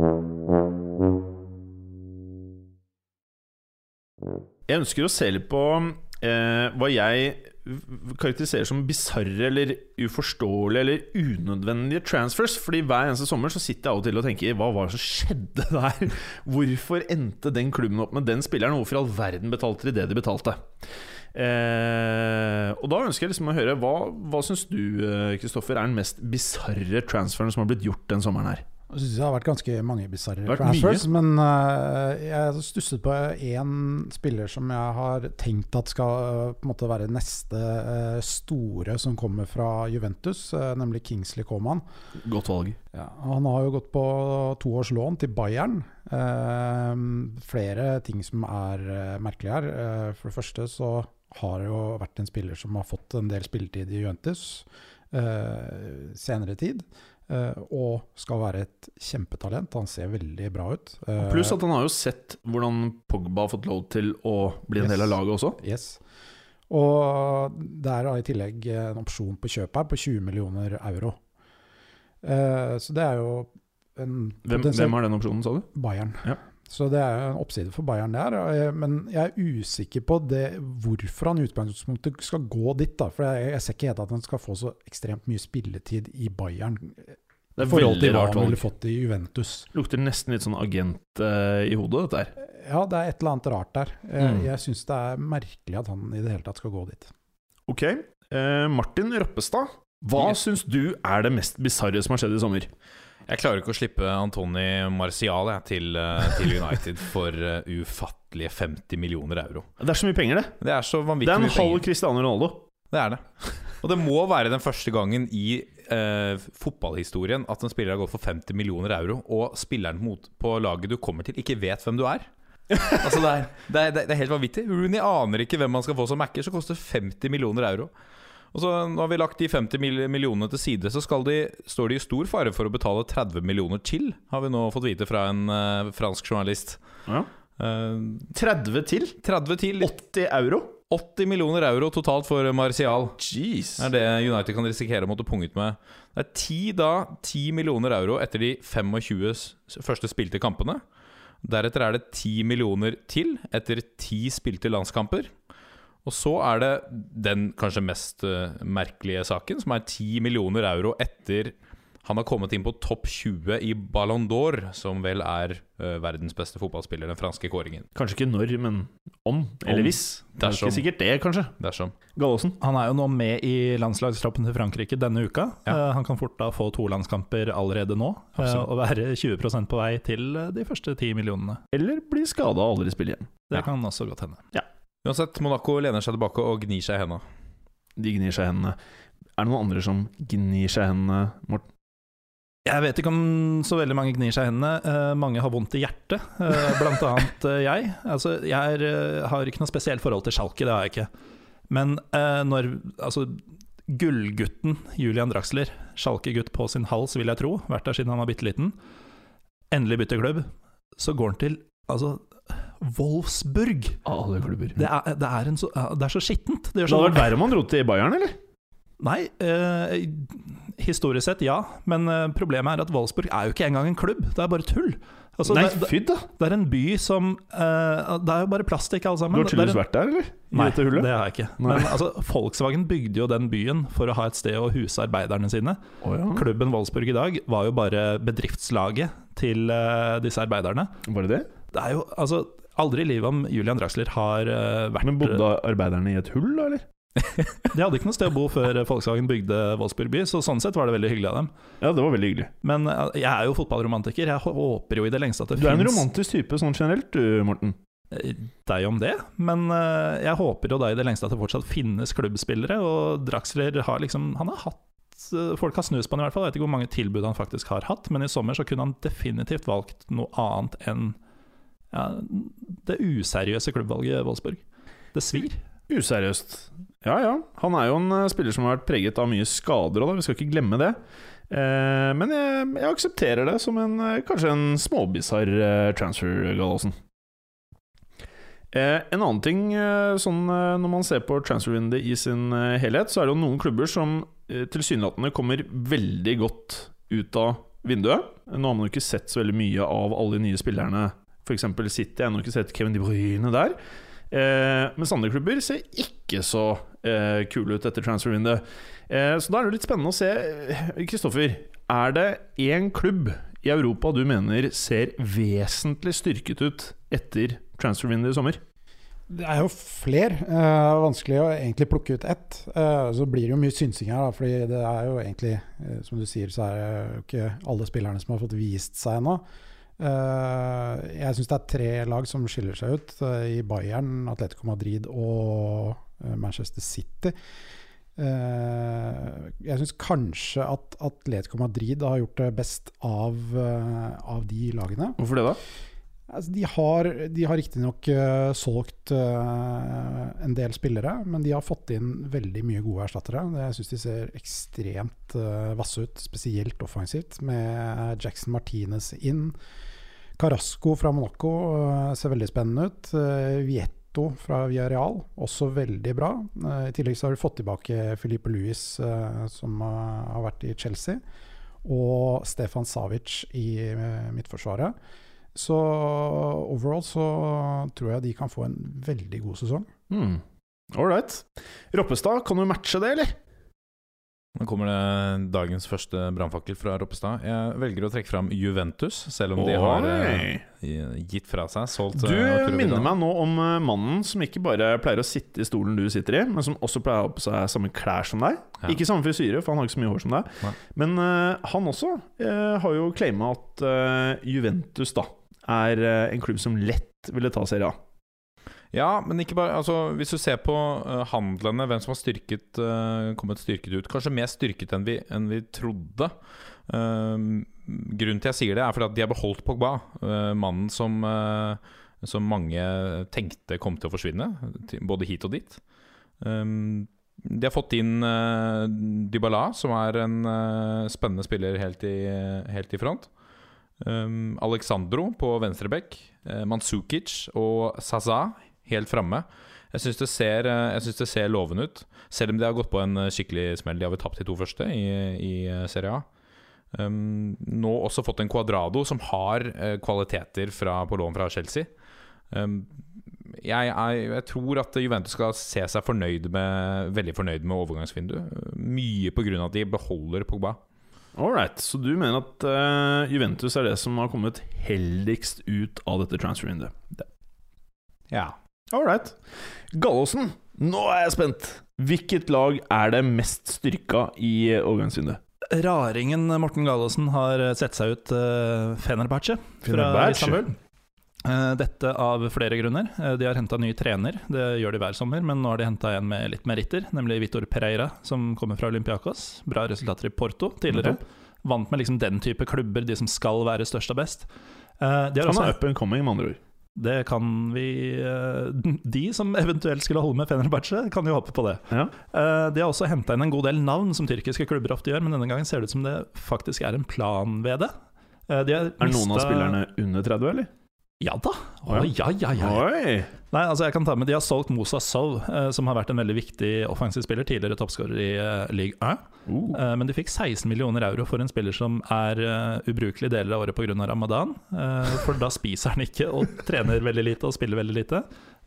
Speaker 2: Jeg ønsker å se litt på eh, hva jeg v- karakteriserer som bisarre eller uforståelige eller unødvendige transfers. Fordi hver eneste sommer så sitter jeg av og til og tenker Hva var det som skjedde der? Hvorfor endte den klubben opp med den spilleren? og Hvorfor i all verden betalte de det de betalte? Eh, og da ønsker jeg liksom å høre Hva, hva syns du, eh, Kristoffer, er den mest bisarre transferen som har blitt gjort den sommeren her?
Speaker 4: Jeg synes det har vært ganske mange bisarre
Speaker 2: Vært
Speaker 4: transfers, men eh, jeg stusset på én spiller som jeg har tenkt at skal eh, på en måte være neste eh, store som kommer fra Juventus, eh, nemlig Kingsley Coman.
Speaker 2: Godt valg.
Speaker 4: Han har jo gått på to års lån til Bayern. Eh, flere ting som er eh, merkelig her. Eh, for det første så har det jo vært en spiller som har fått en del spilletid i Juventus eh, senere tid. eh, og skal være et kjempetalent. Han ser veldig bra ut. Eh,
Speaker 2: Pluss at han har jo sett hvordan Pogba har fått lov til å bli en
Speaker 4: Yes.
Speaker 2: del av laget også.
Speaker 4: Eh, Yes. Og det er da i tillegg en opsjon på kjøp her på 20 millioner euro. Eh, så det er jo en
Speaker 2: Hvem,
Speaker 4: potensiell-
Speaker 2: hvem har den opsjonen, sa du?
Speaker 4: Bayern.
Speaker 2: Ja.
Speaker 4: Så det er jo en oppside for Bayern der. eh, Men jeg er usikker på det, hvorfor han i utgangspunktet skal gå dit. da, For jeg, jeg ser ikke helt at han skal få så ekstremt mye spilletid i Bayern
Speaker 2: Det
Speaker 4: i
Speaker 2: er
Speaker 4: forhold
Speaker 2: veldig
Speaker 4: til hva
Speaker 2: rart
Speaker 4: han ville
Speaker 2: valg.
Speaker 4: fått i Juventus.
Speaker 2: Lukter nesten litt sånn agent eh, i hodet, dette her.
Speaker 4: Ja, det er et eller annet rart der. Eh,
Speaker 2: Mm.
Speaker 4: Jeg syns det er merkelig at han i det hele tatt skal gå dit.
Speaker 2: Ok, eh, Martin Røppestad. Hva
Speaker 5: Ja.
Speaker 2: syns du er det mest bisarre som har skjedd i sommer?
Speaker 5: Jeg klarer ikke å slippe Antony Marcial jeg, til, eh, til United for eh, ufattelige 50 millioner euro.
Speaker 2: Det er så mye penger, det.
Speaker 5: Det er så
Speaker 2: Det
Speaker 5: vanvittig
Speaker 2: er en
Speaker 5: mye penger.
Speaker 2: halv Cristiano Ronaldo.
Speaker 5: Det er det. Og det må være den første gangen i eh, fotballhistorien at en spiller har gått for 50 millioner euro, og spilleren mot, på laget du kommer til, ikke vet hvem du er. altså det, er, det, er, det er helt vanvittig. Rooney aner ikke hvem han skal få som macker, som koster 50 millioner euro. Og så Når vi har lagt de 50 mil- millionene til side, så skal de, står de i stor fare for å betale 30 millioner til, har vi nå fått vite fra en eh, fransk journalist.
Speaker 2: Ja.
Speaker 5: Eh,
Speaker 2: 30 til?
Speaker 5: 30 til
Speaker 2: 80 euro?
Speaker 5: 80 millioner euro totalt for Martial.
Speaker 2: Jeez.
Speaker 5: Det er det United kan risikere å måtte punge ut med. Det er ti da, 10 millioner euro etter de 25 s- første spilte kampene. Deretter er det 10 millioner til etter ti spilte landskamper. Og så er det den kanskje mest eh, merkelige saken, som er 10 millioner euro etter han har kommet inn på topp 20 i Ballon d'Or, som vel er eh, verdens beste fotballspiller, den franske kåringen.
Speaker 2: Kanskje ikke når, men om. Eller
Speaker 5: Om.
Speaker 2: hvis. Det er
Speaker 5: Dersom.
Speaker 2: ikke sikkert det, kanskje.
Speaker 5: Dersom.
Speaker 2: Gallosen.
Speaker 3: Han er jo nå med i landslagstroppen til Frankrike denne uka. Eh, Han kan fort da få to landskamper allerede nå, eh,
Speaker 5: Absolutt.
Speaker 3: og være 20 på vei til eh, de første ti millionene.
Speaker 2: Eller bli skada og aldri spille igjen.
Speaker 3: Det
Speaker 5: Ja.
Speaker 3: kan også godt hende.
Speaker 5: Uansett, Monaco lener seg tilbake og gnir seg i henda.
Speaker 2: De gnir seg i hendene. Er det noen andre som gnir seg i hendene, Morten?
Speaker 3: Jeg vet ikke om så veldig mange gnir seg i hendene. Eh, mange har vondt i hjertet, eh, blant annet eh, jeg. Altså, jeg er, eh, har ikke noe spesielt forhold til Schalke, det har jeg ikke. Men eh, når altså, gullgutten Julian Draxler, Schalke-gutt på sin hals, vil jeg tro, vært der siden han var bitte liten, endelig bytter klubb, så går han til altså, Wolfsburg.
Speaker 2: Alle klubber.
Speaker 3: Det
Speaker 2: Det,
Speaker 3: er, sånn- det er, en så, ja, det er så skittent. Det gjør så
Speaker 2: Mm. hadde vært verre om han dro til Bayern, eller?
Speaker 3: Nei, eh, historisk sett ja, men eh, problemet er at Wolfsburg er jo ikke engang en klubb, det er bare tull. Altså,
Speaker 2: Nei,
Speaker 3: det, det,
Speaker 2: fydd, da!
Speaker 3: det er en by som eh, Det er jo bare plastikk, alle
Speaker 2: Du
Speaker 3: sammen.
Speaker 2: har tydeligvis
Speaker 3: Det er en-
Speaker 2: vært der, eller? I
Speaker 3: Nei,
Speaker 2: dette hullet?
Speaker 3: det har jeg ikke.
Speaker 2: Nei.
Speaker 3: Men altså, Volkswagen bygde jo den byen for å ha et sted å huse arbeiderne sine.
Speaker 2: Å ja.
Speaker 3: Klubben Wolfsburg i dag var jo bare bedriftslaget til eh, disse arbeiderne.
Speaker 2: Var det det?
Speaker 3: Det er jo altså Aldri i livet om Julian Draxler har eh, vært
Speaker 2: Men bodde arbeiderne i et hull, da, eller?
Speaker 3: De hadde ikke noe sted å bo før Volkswagen bygde Wolfsburg by, så sånn sett var det veldig hyggelig av dem.
Speaker 2: Ja, det var veldig hyggelig.
Speaker 3: Men eh, jeg er jo fotballromantiker. Jeg håper jo i det lengste at det
Speaker 2: Du er en
Speaker 3: finnes-
Speaker 2: romantisk type sånn generelt, du, Morten.
Speaker 3: Eh, Deg om det, men eh, jeg håper jo da i det lengste at det fortsatt finnes klubbspillere. Og Draxler har liksom Han har hatt eh, Folk har snust på han i hvert fall. Jeg vet ikke hvor mange tilbud han faktisk har hatt, men i sommer så kunne han definitivt valgt noe annet enn ja, det useriøse klubbvalget Wolfsburg. Det svir.
Speaker 2: Useriøst. Ja ja. Han er jo en eh, spiller som har vært preget av mye skader òg, da. Vi skal ikke glemme det. Eh, men jeg, jeg aksepterer det som en eh, kanskje en småbisarr eh, transfer, Gallosen. Eh, en annen ting, eh, sånn eh, når man ser på transfervinduet i sin eh, helhet, så er det jo noen klubber som eh, tilsynelatende kommer veldig godt ut av vinduet. Nå har man jo ikke sett så veldig mye av alle de nye spillerne. F.eks. City. Jeg har ennå ikke sett Kevin De Bruyne der. Eh, mens andre klubber ser ikke så eh, kule ut etter transfervinduet. Eh, så da er det jo litt spennende å se. Kristoffer, er det én klubb i Europa du mener ser vesentlig styrket ut etter transfervinduet i sommer?
Speaker 4: Det er jo fler. eh, vanskelig å egentlig plukke ut ett. Eh, så blir det jo mye synsing her, da, fordi det er jo egentlig, eh, som du sier, så er det jo ikke alle spillerne som har fått vist seg ennå. Eh, jeg syns det er tre lag som skiller seg ut, eh, i Bayern, Atletico Madrid og eh, Manchester City. Eh, jeg syns kanskje at Atletico Madrid har gjort det best av, eh, av de lagene.
Speaker 2: Hvorfor det, da?
Speaker 4: Altså, de har, de har riktignok uh, solgt eh, en del spillere, men de har fått inn veldig mye gode erstattere. Jeg syns de ser ekstremt eh, vasse ut, spesielt offensivt, med eh, Jackson Martinez inn. Carasco fra Monaco eh, ser veldig spennende ut. Eh, Vietto fra Villarreal, også veldig bra. Eh, I tillegg så har de fått tilbake Filipe Luis, eh, som eh, har vært i Chelsea, og Stefan Savic i eh, midtforsvaret. Så overall så tror jeg de kan få en veldig god sesong.
Speaker 2: Hmm. All right. Roppestad, kan du matche det, eller?
Speaker 5: Nå kommer det dagens første brannfakkel fra Roppestad. Jeg velger å trekke fram Juventus, selv om de har eh,
Speaker 2: Oi.
Speaker 5: gitt fra seg, solgt eh,
Speaker 2: Du
Speaker 5: Arturo
Speaker 2: minner
Speaker 5: Vidal.
Speaker 2: meg nå om eh, mannen som ikke bare pleier å sitte i stolen du sitter i, men som også pleier å ha på seg samme klær som deg.
Speaker 5: Ja.
Speaker 2: Ikke samme frisyre, for han har ikke så mye hår som deg.
Speaker 5: Nei.
Speaker 2: Men eh, han også eh, har jo claima at eh, Juventus da er eh, en klubb som lett ville ta Serie A.
Speaker 5: Ja, men ikke bare altså, Hvis du ser på eh, handlene, hvem som har styrket, eh, kommet styrket ut Kanskje mer styrket enn vi, enn vi trodde. Eh, grunnen til jeg sier det, er fordi at de har beholdt Pogba. eh, mannen som, eh, som mange tenkte kom til å forsvinne, til- både hit og dit. Eh, De har fått inn eh, Dybala, som er en eh, spennende spiller helt i, helt i front. Um, Alexandro på venstreback. Uh, Mansukic og Saza helt framme. Jeg syns det, ser, eh, jeg synes det ser lovende ut, selv om de har gått på en eh, skikkelig smell. De har vel tapt de to første i, i eh, Serie A. Um, nå også fått en Cuadrado som har eh, kvaliteter fra, på lån fra Chelsea. Um, jeg, er, jeg tror at Juventus skal se seg fornøyd med, veldig fornøyd med overgangsvinduet. Mye pga. at de beholder Pogba.
Speaker 2: All right, så du mener at eh, Juventus er det som har kommet heldigst ut av dette transfer-vinduet?
Speaker 5: Ja.
Speaker 2: All right. Gallosen, nå er jeg spent! Hvilket lag er det mest styrka i overgangsvinduet?
Speaker 3: Raringen Morten Gallosen har eh, sett seg ut uh, Fenerbahçe fra
Speaker 2: Fenerbahçe.
Speaker 3: Istanbul. Eh, Dette av flere grunner. Eh, De har henta ny trener, det gjør de hver sommer. Men nå har de henta en med litt meritter, nemlig Vitor Pereira, som kommer fra Olympiakos. Bra resultater i Porto tidligere. Vant med liksom den type klubber, de som skal være størst og best. Eh, De har
Speaker 2: Han
Speaker 3: også
Speaker 2: er up and coming, med andre ord.
Speaker 3: Det kan vi eh, De som eventuelt skulle holde med Fenerbahçe, kan jo håpe på det.
Speaker 2: Ja.
Speaker 3: Eh, De har også henta inn en god del navn, som tyrkiske klubber ofte gjør, men denne gangen ser det ut som det faktisk er en plan ved det. Eh, De har
Speaker 2: Er noen av
Speaker 3: mista-
Speaker 2: spillerne under 30, eller?
Speaker 3: Ja da! Å,
Speaker 2: Å,
Speaker 3: ja, ja, ja.
Speaker 2: Oi!
Speaker 3: Nei, altså jeg kan ta med De har solgt Moussa Sow, eh, som har vært en veldig viktig offensiv spiller, tidligere toppskårer i eh, Ligue 1.
Speaker 2: Uh.
Speaker 3: Eh, Men de fikk 16 millioner euro for en spiller som er eh, ubrukelig deler av året pga. ramadan. eh, for da spiser han ikke og trener veldig lite og spiller veldig lite.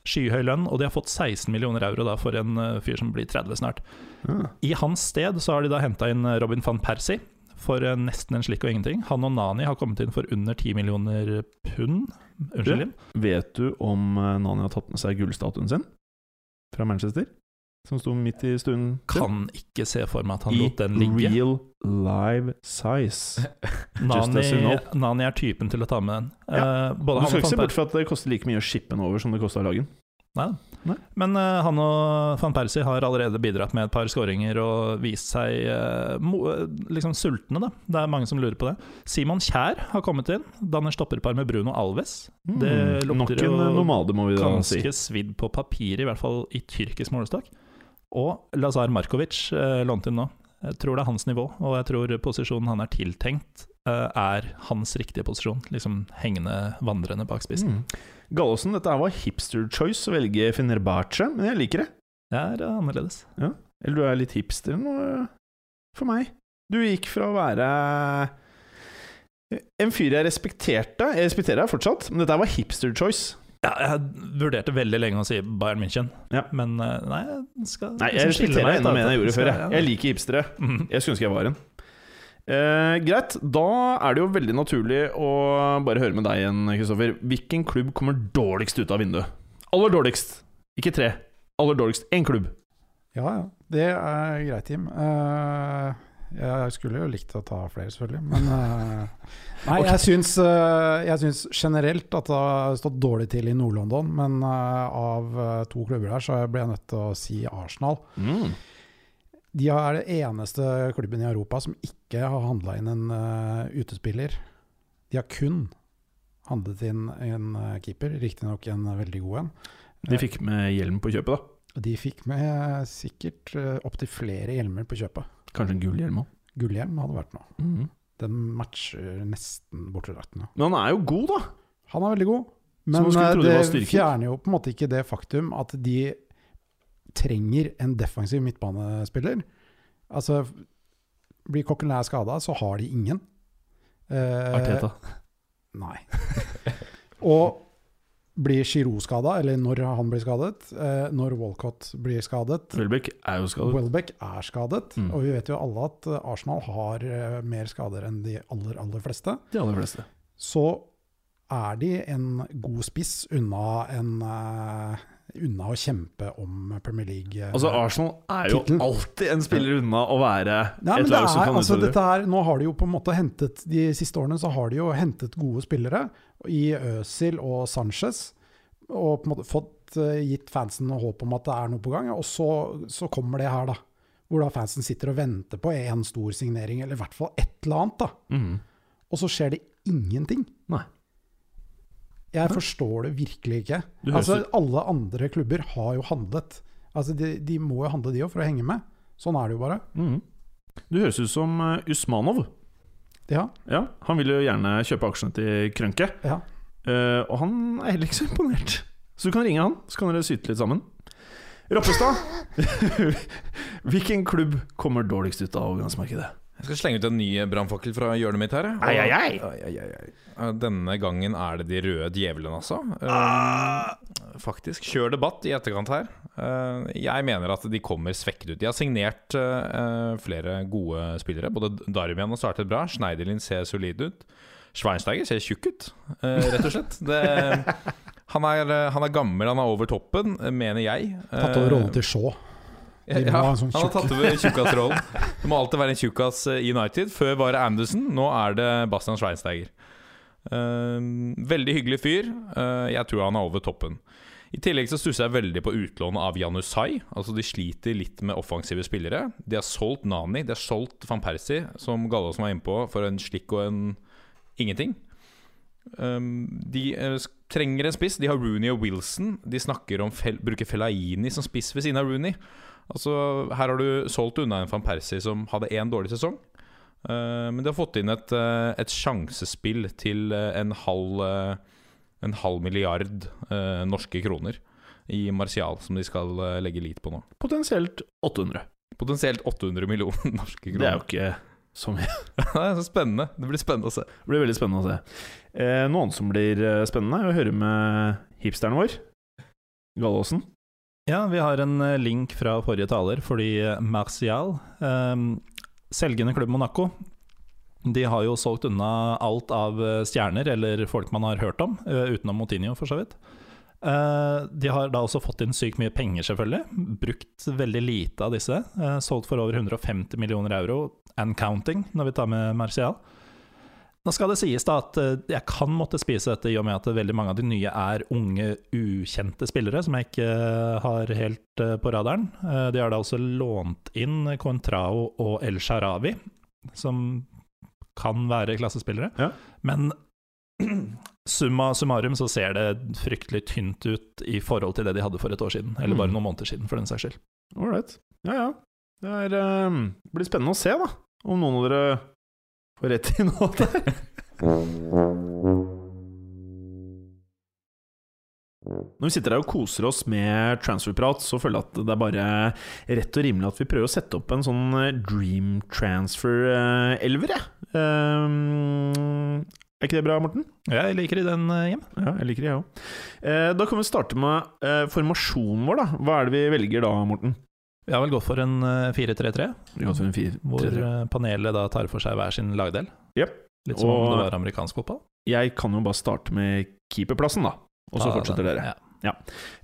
Speaker 3: Skyhøy lønn, og de har fått 16 millioner euro da for en eh, fyr som blir 30 snart.
Speaker 2: Ja.
Speaker 3: I hans sted så har de da henta inn eh, Robin van Persie for eh, nesten en slikk og ingenting. Han og Nani har kommet inn for under 10 millioner pund. Unnskyld. Jim.
Speaker 2: Vet du om eh, Nani har tatt med seg gullstatuen sin fra Manchester? Som sto midt i stuen?
Speaker 3: Kan ikke se for meg at han
Speaker 2: I
Speaker 3: lot den ligge. Eh,
Speaker 2: real live size. just
Speaker 3: Nani,
Speaker 2: as you know.
Speaker 3: Nani er typen til å ta med den. Eh,
Speaker 2: Du
Speaker 3: både han og
Speaker 2: skal ikke
Speaker 3: van
Speaker 2: se
Speaker 3: Per-
Speaker 2: bort fra at det koster like mye å shippe den over som det kosta å lage den.
Speaker 3: Nei.
Speaker 2: Nei.
Speaker 3: Men eh, han og van Persie har allerede bidratt med et par skåringer og vist seg eh, mo eh, liksom sultne. Da. Det er mange som lurer på det. Simon Kjær har kommet inn. Danner stopperpar med Bruno Alves. Det
Speaker 2: Mm. Nok
Speaker 3: lukter
Speaker 2: en
Speaker 3: jo
Speaker 2: nomade, må vi da si.
Speaker 3: Ganske svidd på papiret, i hvert fall i tyrkisk målestokk. Og Lazar Markovic eh, lånt inn nå. Jeg tror det er hans nivå, og jeg tror posisjonen han er tiltenkt, eh, er hans riktige posisjon. Liksom hengende, vandrende bak spissen.
Speaker 2: Mm. Gallosen, dette her var hipster choice å velge Fenerbahçe, men jeg liker det.
Speaker 3: Det er eh, annerledes.
Speaker 2: Eller du er litt hipster nå, for meg. Du gikk fra å være eh, en fyr jeg respekterte Jeg respekterer deg fortsatt, men dette her var hipster choice.
Speaker 3: Ja, jeg vurderte veldig lenge å si Bayern München,
Speaker 2: Ja.
Speaker 3: men eh, nei, jeg skal liksom
Speaker 2: Nei, jeg respekterer deg enda mer enn jeg gjorde før. Jeg, jeg liker hipstere.
Speaker 3: Mm.
Speaker 2: Jeg skulle ønske jeg var en. Eh, greit, da er det jo veldig naturlig å bare høre med deg igjen, Kristoffer. Hvilken klubb kommer dårligst ut av vinduet? Aller dårligst. Ikke tre. Aller dårligst én klubb.
Speaker 4: Ja, ja. Det er greit, Tim. Eh, jeg skulle jo likt å ta flere, selvfølgelig, men eh, Nei, jeg, syns, eh, jeg syns generelt at det har stått dårlig til i Nord-London, men eh, av eh, to klubber der så ble jeg nødt til å si Arsenal.
Speaker 2: Mm.
Speaker 4: De er det eneste klubben i Europa som ikke har handla inn en eh, utespiller. De har kun handlet inn en eh, keeper, riktignok en eh, veldig god en.
Speaker 2: De fikk med hjelm på kjøpet, da.
Speaker 4: Og de fikk med sikkert eh, opptil flere hjelmer på kjøpet.
Speaker 2: Kanskje en gull hjelm òg.
Speaker 4: Gullhjelm hadde vært noe.
Speaker 2: Mm.
Speaker 4: Den matcher nesten borti draktene.
Speaker 2: Men han er jo god, da.
Speaker 4: Han er veldig god,
Speaker 2: man
Speaker 4: men
Speaker 2: skulle
Speaker 4: eh,
Speaker 2: tro det
Speaker 4: det,
Speaker 2: var styrken.
Speaker 4: fjerner jo på en måte ikke det faktum at de trenger en defensiv midtbanespiller. Altså, blir Coquelin skada, så har de ingen. Eh,
Speaker 2: Arteta.
Speaker 4: Nei. Og blir Giroud skada, eller når han blir skadet, eh, når Walcott blir skadet,
Speaker 2: Welbeck er jo skadet.
Speaker 4: Welbeck er skadet,
Speaker 2: Mm.
Speaker 4: og vi vet jo alle at eh, Arsenal har eh, mer skader enn de aller, aller fleste.
Speaker 2: De aller fleste.
Speaker 4: Så er de en god spiss unna, en, eh, unna å kjempe om Premier League. eh.
Speaker 2: Altså, Arsenal er jo
Speaker 4: Tittel.
Speaker 2: alltid en spiller unna å være
Speaker 4: Nei, men
Speaker 2: et
Speaker 4: det
Speaker 2: lag som
Speaker 4: er,
Speaker 2: kan
Speaker 4: altså,
Speaker 2: utfordre.
Speaker 4: dette her, nå har de jo på en måte hentet De siste årene så har de jo hentet gode spillere i Øsil og Sanchez, og på en måte fått eh, gitt fansen noe håp om at det er noe på gang. Og så, så kommer det her, da. Hvor da fansen sitter og venter på en stor signering, eller i hvert fall et eller annet. da.
Speaker 2: Mhm.
Speaker 4: Og så skjer det ingenting.
Speaker 2: Nei.
Speaker 4: Jeg forstår det virkelig ikke.
Speaker 2: Du høres
Speaker 4: Altså, alle andre klubber har jo handlet. Altså, de, de må jo handle, de òg, for å henge med. Sånn er det jo bare.
Speaker 2: Mm. Du høres ut som eh, Usmanov.
Speaker 4: Ja,
Speaker 2: Ja, Han vil jo gjerne kjøpe aksjene til Krønke,
Speaker 4: ja.
Speaker 2: eh, og han er heller ikke så imponert. Så du kan ringe han, så kan dere syte litt sammen. Roppestad, hvilken klubb kommer dårligst ut av overgangsmarkedet?
Speaker 5: Jeg skal slenge ut en ny brannfakkel fra hjørnet mitt her. jeg.
Speaker 2: Ai, ai, ai.
Speaker 5: Ai, ai, ai, ai. Eh, Denne gangen er det de røde djevlene, altså. Eh, Faktisk. Kjør debatt i etterkant her. Eh, Jeg mener at de kommer svekket ut. De har signert eh, eh, flere gode spillere. Både Darmian har startet bra. Schneiderlin ser solid ut. Schweinsteiger ser tjukk ut, eh, rett og slett. Det, han, er, eh, han er gammel, han er over toppen, eh, mener jeg.
Speaker 4: Tatt over
Speaker 5: Eh,
Speaker 4: rollen til Shaw.
Speaker 5: ja,
Speaker 4: De må ha en sånn
Speaker 5: han har
Speaker 4: tjukk-
Speaker 5: tatt over tjukkasrollen. Det må alltid være en tjukkas eh, i United. Før var det Anderson, nå er det Bastian Schweinsteiger. Ehm, veldig hyggelig fyr. Eh, jeg tror han er over toppen. I tillegg så stusser jeg veldig på utlånet av Janusai. Altså De sliter litt med offensive spillere. De har solgt Nani, de har solgt van Persie, som Gallaasen var inne på, for en slikk og en ingenting. Ehm, de eh, s- trenger en spiss. De har Rooney og Wilson. De snakker om fel bruke Fellaini som spiss ved siden av Rooney. Altså, her har du solgt unna en van Persie som hadde én dårlig sesong. Eh, men de har fått inn et, eh, et sjansespill til eh, en halv eh, En halv milliard eh, norske kroner i Martial, som de skal eh, legge lit på nå.
Speaker 2: Potensielt 800.
Speaker 5: Potensielt 800 millioner norske
Speaker 2: Det er jo
Speaker 5: kroner.
Speaker 2: ikke så mye.
Speaker 5: Det er så spennende. Det blir spennende å se.
Speaker 2: Det blir veldig spennende å se. Eh, noe annet som blir eh, spennende, er å høre med hipsteren vår, Gallåsen.
Speaker 3: Ja, vi har en eh, link fra forrige taler, fordi eh, Martial, eh, selgende klubb Monaco, de har jo solgt unna alt av eh, stjerner, eller folk man har hørt om, eh, utenom Motinho for så vidt. Eh, De har da også fått inn sykt mye penger, selvfølgelig. Brukt veldig lite av disse. eh, Solgt for over 150 millioner euro, and counting, når vi tar med Martial. Nå skal det sies da at eh, jeg kan måtte spise dette i og med at veldig mange av de nye er unge, ukjente spillere som jeg ikke eh, har helt eh, på radaren. Eh, De har da også lånt inn Contrao og El Sharawi, som kan være klassespillere.
Speaker 2: Ja.
Speaker 3: Men summa summarum så ser det fryktelig tynt ut i forhold til det de hadde for et år siden, eller bare
Speaker 2: Mm.
Speaker 3: noen måneder siden, for den saks skyld.
Speaker 2: Ålreit. Ja, ja. Det er, eh, blir spennende å se, da. Om noen av dere får rett i noe der. Når vi sitter her og koser oss med transferprat, så føler jeg at det er bare rett og rimelig at vi prøver å sette opp en sånn eh, dream transfer-elver, jeg. Eh, er ikke det bra, Morten?
Speaker 3: Jeg liker i den eh, hjem.
Speaker 2: Ja, jeg liker det, jeg òg. Eh, da kan vi starte med eh, formasjonen vår, da. Hva er det vi velger da, Morten?
Speaker 3: Vi har vel gått for en eh, 4-3-3.
Speaker 2: Vi går for en fire,
Speaker 3: Hvor eh, panelet da tar for seg hver sin lagdel.
Speaker 2: Jep.
Speaker 3: Litt som
Speaker 2: Og-
Speaker 3: om det var amerikansk fotball.
Speaker 2: Jeg kan jo bare starte med keeperplassen, da. Og så
Speaker 3: Da-
Speaker 2: fortsetter dere.
Speaker 3: Ja.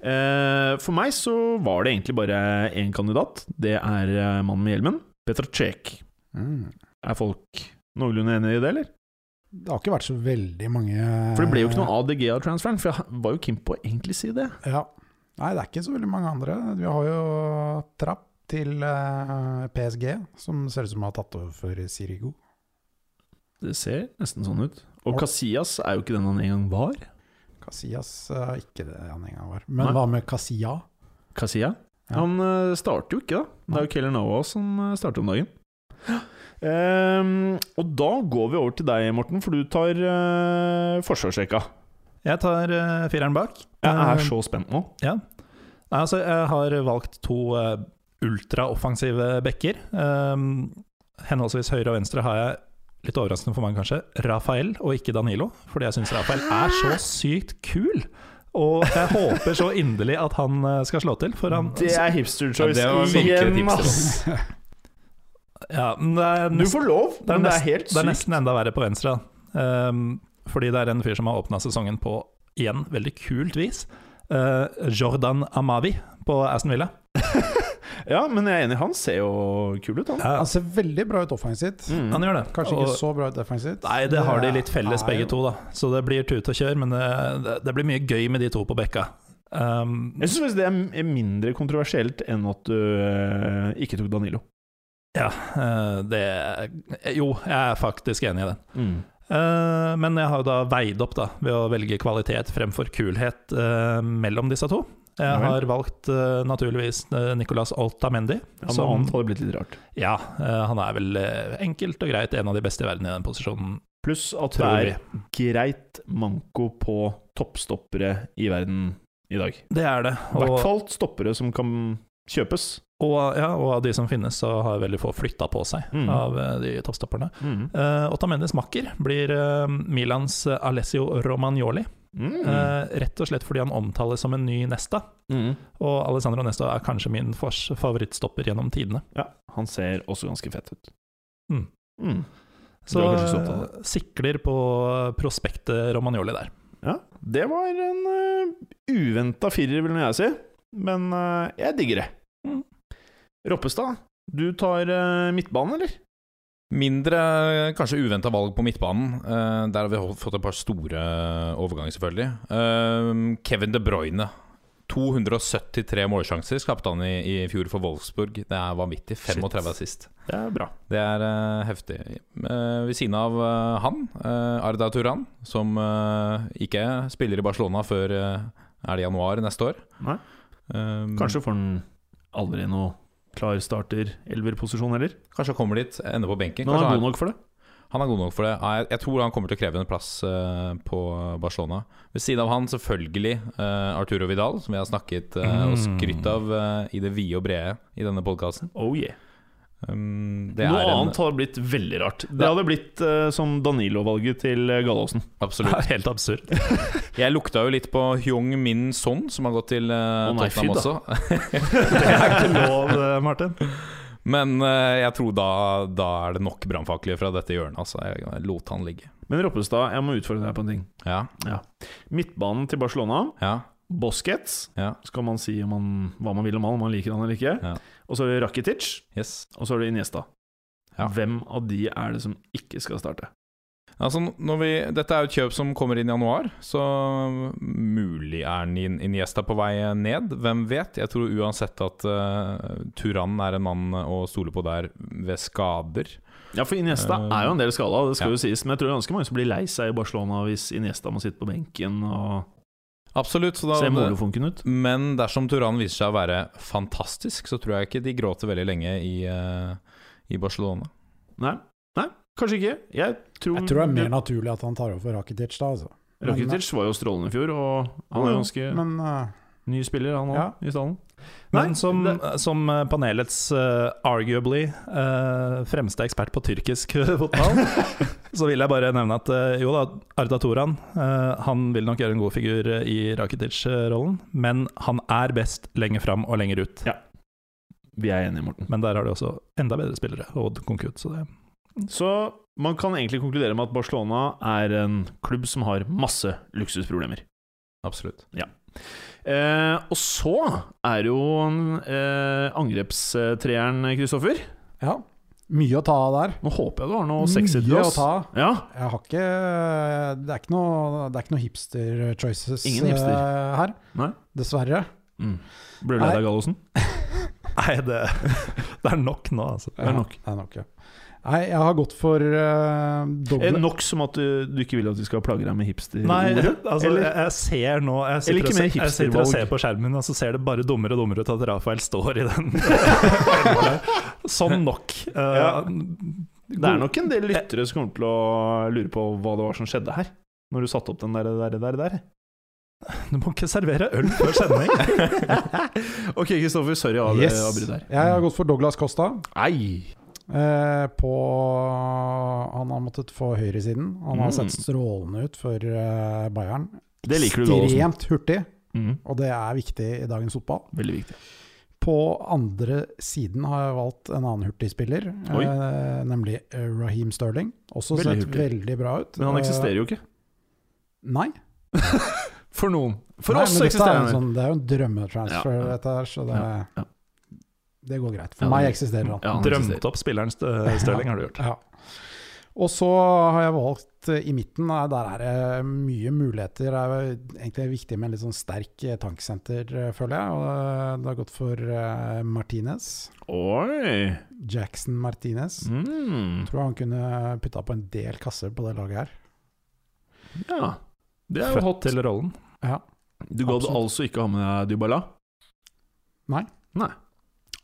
Speaker 2: Eh, for meg så var det egentlig bare én kandidat. Det er eh, mannen med hjelmen. Petr Cech.
Speaker 4: Mm.
Speaker 2: Er folk noenlunde enige i det, eller?
Speaker 4: Det har ikke vært så veldig mange
Speaker 2: For det ble jo ikke noe ADG av transferen, for jeg var jo keen på å egentlig si det.
Speaker 4: Ja. Nei, det er ikke så veldig mange andre. Vi har jo Trapp til eh, PSG, som ser ut som har tatt over for Sirigo.
Speaker 2: Det ser nesten sånn ut. Og Casillas er jo ikke den han en gang var.
Speaker 4: Casillas eh, ikke det han en gang var. Men
Speaker 2: Nei.
Speaker 4: hva med Casilla?
Speaker 2: Casilla.
Speaker 4: Ja.
Speaker 2: Han eh, starter jo ikke, da. Det er jo Keller Noah som eh, starter om dagen. Ehm, og da går vi over til deg, Morten, for du tar uh, forsvarsrekka.
Speaker 3: Jeg tar eh, fireren bak.
Speaker 2: Jeg
Speaker 3: Eh,
Speaker 2: er så spent nå.
Speaker 3: Nei, altså, jeg har valgt to eh, ultraoffensive bekker. Um, henholdsvis høyre og venstre har jeg, litt overraskende for mange kanskje, Rafael og ikke Danilo. Fordi jeg syns Rafael er
Speaker 2: Ah!
Speaker 3: så sykt kul. Og jeg håper så inderlig at han eh, skal slå til, for han
Speaker 2: Det er hipster choice
Speaker 5: Ja, det var virkelig et
Speaker 2: igjen,
Speaker 5: hipster.
Speaker 2: ass!
Speaker 3: Ja, men det er
Speaker 2: Du får lov,
Speaker 3: Det er,
Speaker 2: men det er
Speaker 3: nest-
Speaker 2: helt
Speaker 3: det er
Speaker 2: sykt.
Speaker 3: nesten enda verre på venstre. da. Um, fordi det er en fyr som har åpna sesongen på, igjen, veldig kult vis. Uh, Jordan Amavi på Aston Villa.
Speaker 2: Ja, men jeg er enig, han ser jo kul ut, han.
Speaker 3: Ja.
Speaker 4: Han ser veldig bra ut offensivt.
Speaker 2: Mm.
Speaker 3: Han gjør det.
Speaker 4: Kanskje ikke
Speaker 3: Og-
Speaker 4: så bra ut defensivt.
Speaker 3: Nei, det har de litt felles,
Speaker 4: er
Speaker 3: begge
Speaker 4: jo-
Speaker 3: to. da Så det blir tut og kjør, men det, det, det blir mye gøy med de to på bekka. Um,
Speaker 2: Jeg syns faktisk det er er mindre kontroversielt enn at du eh, ikke tok Danilo.
Speaker 3: ja, eh, det Jo, jeg er faktisk enig i det.
Speaker 2: Mm.
Speaker 3: Eh, men jeg har jo da veid opp da ved å velge kvalitet fremfor kulhet eh, mellom disse to. Jeg
Speaker 2: Ja vel.
Speaker 3: har valgt eh, naturligvis eh, Nicolas Altamendi.
Speaker 2: Ja, noe
Speaker 3: som,
Speaker 2: annet hadde blitt litt rart.
Speaker 3: ja, eh, han er vel eh, enkelt og greit en av de beste i verden i den posisjonen,
Speaker 2: Pluss at det
Speaker 3: tror
Speaker 2: er
Speaker 3: vi.
Speaker 2: greit manko på toppstoppere i verden i dag.
Speaker 3: Det er det.
Speaker 2: I hvert
Speaker 3: Og,
Speaker 2: fall stoppere som kan kjøpes.
Speaker 3: og, ja, og av de som finnes, så har veldig få flytta på seg
Speaker 2: Mm.
Speaker 3: av eh, de toppstopperne.
Speaker 2: Mm.
Speaker 3: Uh, Ottamendes makker blir eh, Milans eh, Alessio Romagnoli,
Speaker 2: Mm.
Speaker 3: eh, rett og slett fordi han omtales som en ny Nesta.
Speaker 2: Mm.
Speaker 3: Og Alessandro Nesta er kanskje min fors- favorittstopper gjennom tidene.
Speaker 2: Ja, han ser også ganske fett ut.
Speaker 3: Mm.
Speaker 2: Mm.
Speaker 3: Så
Speaker 2: Det var kanskje så opptatt
Speaker 3: eh, sikler på prospektet Romagnoli der.
Speaker 2: Ja, det var en uh, uventa firer, vil nå jeg si. Men eh, jeg digger det.
Speaker 3: Mm.
Speaker 2: Roppestad, du tar eh, midtbanen, eller?
Speaker 5: Mindre kanskje uventa valg på midtbanen. Eh, der har vi holdt- fått et par store overganger, selvfølgelig. Eh, Kevin De Bruyne. 273 målsjanser skapte han i, i fjor for Wolfsburg. Det er vanvittig. 35 assist.
Speaker 2: Det er bra.
Speaker 5: Det er eh, heftig. Eh, ved siden av eh, han, eh, Arda Turan, som eh, ikke spiller i Barcelona før eh, er det januar neste år.
Speaker 2: Nei.
Speaker 5: Eh,
Speaker 2: Kanskje får han aldri noe klar starter elverposisjon heller.
Speaker 5: kanskje han kommer dit, ender på benken.
Speaker 2: Men han
Speaker 5: Kanskje
Speaker 2: er god nok for det.
Speaker 5: Han er god nok for det. Ja, Jeg, jeg tror han kommer til å kreve en plass eh, på Barcelona. Ved siden av han selvfølgelig eh, Arturo Vidal, som vi har snakket eh,
Speaker 2: Mm.
Speaker 5: og skrytt av eh, i det vide og brede i denne podkasten.
Speaker 2: Oh yeah.
Speaker 5: Um, det
Speaker 2: Noe
Speaker 5: er en,
Speaker 2: annet hadde blitt veldig rart. Det
Speaker 5: Ja.
Speaker 2: hadde blitt eh, som Danilo-valget til eh, Gallåsen.
Speaker 3: Det
Speaker 5: Absolutt.
Speaker 3: er helt absurd.
Speaker 5: Jeg lukta jo litt på Hyung Min Son, som har gått til eh,
Speaker 2: Å nei, fy
Speaker 5: Tottenham
Speaker 2: da.
Speaker 5: også.
Speaker 3: Det er ikke lov, eh, Martin.
Speaker 5: Men eh, jeg tror da, da er det nok brannfakler fra dette hjørnet. Altså. Jeg lot han ligge.
Speaker 2: Men Roppestad, jeg må utfordre deg på en ting.
Speaker 5: Ja,
Speaker 2: Midtbanen til Barcelona,
Speaker 5: ja,
Speaker 2: Busquets,
Speaker 5: ja.
Speaker 2: skal man si om man, hva man vil om han, om man liker han eller ikke.
Speaker 5: Ja.
Speaker 2: Og så er det Rakitic,
Speaker 5: Yes.
Speaker 2: og så er det Iniesta.
Speaker 5: Ja.
Speaker 2: Hvem av de er det som ikke skal starte?
Speaker 5: Altså, når vi, dette er jo et kjøp som kommer inn i januar, så mulig er Ni- Iniesta på vei ned. Hvem vet? Jeg tror uansett at eh, Turan er en mann å stole på der ved skader.
Speaker 2: Ja, for Iniesta
Speaker 5: Eh,
Speaker 2: er jo en del skada, det skal
Speaker 5: ja.
Speaker 2: jo sies. Men jeg tror det er ganske mange som blir lei seg i Barcelona hvis Iniesta må sitte på benken og
Speaker 5: Absolutt. Så
Speaker 2: se
Speaker 5: da,
Speaker 2: molefonken ut.
Speaker 5: men dersom Turan viser seg å være fantastisk, så tror jeg ikke de gråter veldig lenge i, eh, i Barcelona.
Speaker 2: Nei. Nei, kanskje ikke. Jeg tror,
Speaker 4: Jeg tror det er mer naturlig at han tar over for Rakitic da, altså.
Speaker 2: Rakitic var jo strålende i fjor, og han er jo ganske
Speaker 4: Men eh,
Speaker 2: ny spiller, han òg,
Speaker 4: Ja.
Speaker 2: i stallen.
Speaker 3: Men
Speaker 2: Nei,
Speaker 3: som,
Speaker 2: det-
Speaker 3: som eh, panelets eh, arguably eh, fremste ekspert på tyrkisk eh, fotball, så vil jeg bare nevne at eh, jo da, Arda Toran eh, han vil nok gjøre en god figur eh, i Rakitic-rollen, men han er best lenger fram og lenger ut.
Speaker 2: Vi er enige, Morten.
Speaker 3: Men der har de også enda bedre spillere, Odd Konkut, så det
Speaker 2: Så man kan egentlig konkludere med at Barcelona er en klubb som har masse luksusproblemer.
Speaker 5: Absolutt.
Speaker 2: Eh, og så er jo eh, angrepstreeren, Kristoffer.
Speaker 4: mye å ta av der.
Speaker 2: Nå håper jeg du har noe sexy til
Speaker 4: Mye
Speaker 2: oss.
Speaker 4: å ta av.
Speaker 2: Ja,
Speaker 4: Jeg har ikke Det er ikke noe, det er ikke noe hipster choices
Speaker 2: Ingen hipster.
Speaker 4: eh, her.
Speaker 2: Nei.
Speaker 4: Dessverre.
Speaker 2: Blir du lei deg, Gallosen?
Speaker 3: Nei, det, det er nok nå, altså.
Speaker 2: Det er nok.
Speaker 4: Ja, det er nok, ja. Nei, jeg har gått for eh,
Speaker 2: Eh,
Speaker 4: doble
Speaker 2: Nok som at du, du ikke vil at vi skal plage deg med hipster?
Speaker 3: Nei,
Speaker 2: Ordet.
Speaker 3: altså,
Speaker 2: Eller-
Speaker 3: jeg, jeg ser nå Jeg
Speaker 2: Eller
Speaker 3: sitter,
Speaker 2: ikke
Speaker 3: og,
Speaker 2: mer
Speaker 3: ser, jeg sitter og
Speaker 2: hipstervalg.
Speaker 3: ser på skjermen, og så ser det bare dummere og dummere ut at Rafael står i den. Som nok. Eh,
Speaker 2: Ja. Det er
Speaker 3: god-
Speaker 2: nok en del lyttere som kommer til å lure på hva det var som skjedde her. Når du satte opp den der, der, der, der.
Speaker 3: Du må ikke servere øl før sending.
Speaker 2: ok, Kristoffer. Sorry, av eh,
Speaker 4: Yes.
Speaker 2: avbryter her.
Speaker 4: Jeg har gått for Douglas Costa.
Speaker 2: Nei.
Speaker 4: Eh, på Han har måttet få høyresiden. Han har
Speaker 2: Mm.
Speaker 4: sett strålende ut for eh, Bayern.
Speaker 2: Det liker du, Gallosen.
Speaker 4: Ekstremt hurtig,
Speaker 2: Mm,
Speaker 4: og det er viktig i dagens fotball.
Speaker 2: veldig viktig.
Speaker 4: På andre siden har jeg valgt en annen hurtigspiller,
Speaker 2: Oi.
Speaker 4: eh, nemlig eh, Raheem Sterling. Også
Speaker 2: Veldig
Speaker 4: sett
Speaker 2: hurtig.
Speaker 4: veldig bra ut.
Speaker 2: Men han eksisterer jo ikke.
Speaker 4: Eh, nei.
Speaker 2: For noen. For
Speaker 4: nei,
Speaker 2: oss
Speaker 4: men dette
Speaker 2: eksisterer
Speaker 4: er
Speaker 2: han.
Speaker 4: en sånn, Det er jo en drømmetransfer,
Speaker 2: Ja, ja.
Speaker 4: dette her, så det,
Speaker 2: Ja, ja.
Speaker 4: det går greit.
Speaker 2: Ja,
Speaker 4: For meg
Speaker 2: det-
Speaker 4: eksisterer han.
Speaker 2: Ja, han eksisterer.
Speaker 3: Drømte opp spilleren St- eh, Stirling, har du gjort.
Speaker 4: Ja. Og så har jeg valgt eh, i midten, eh, der er det mye muligheter. Det er jo egentlig viktig med en litt sånn sterk eh, tanksenter, eh, føler jeg. Og eh, det har gått for eh, Martinez.
Speaker 2: Oi!
Speaker 4: Jackson Martinez.
Speaker 2: Mm.
Speaker 4: Jeg tror han kunne putta på en del kasser på det laget her.
Speaker 2: Ja. Det er jo
Speaker 3: Født
Speaker 2: hot.
Speaker 3: til rollen.
Speaker 4: Ja.
Speaker 2: Du gadd
Speaker 4: Absolutt.
Speaker 2: altså ikke ha med deg Dybala?
Speaker 4: Nei.
Speaker 2: Nei.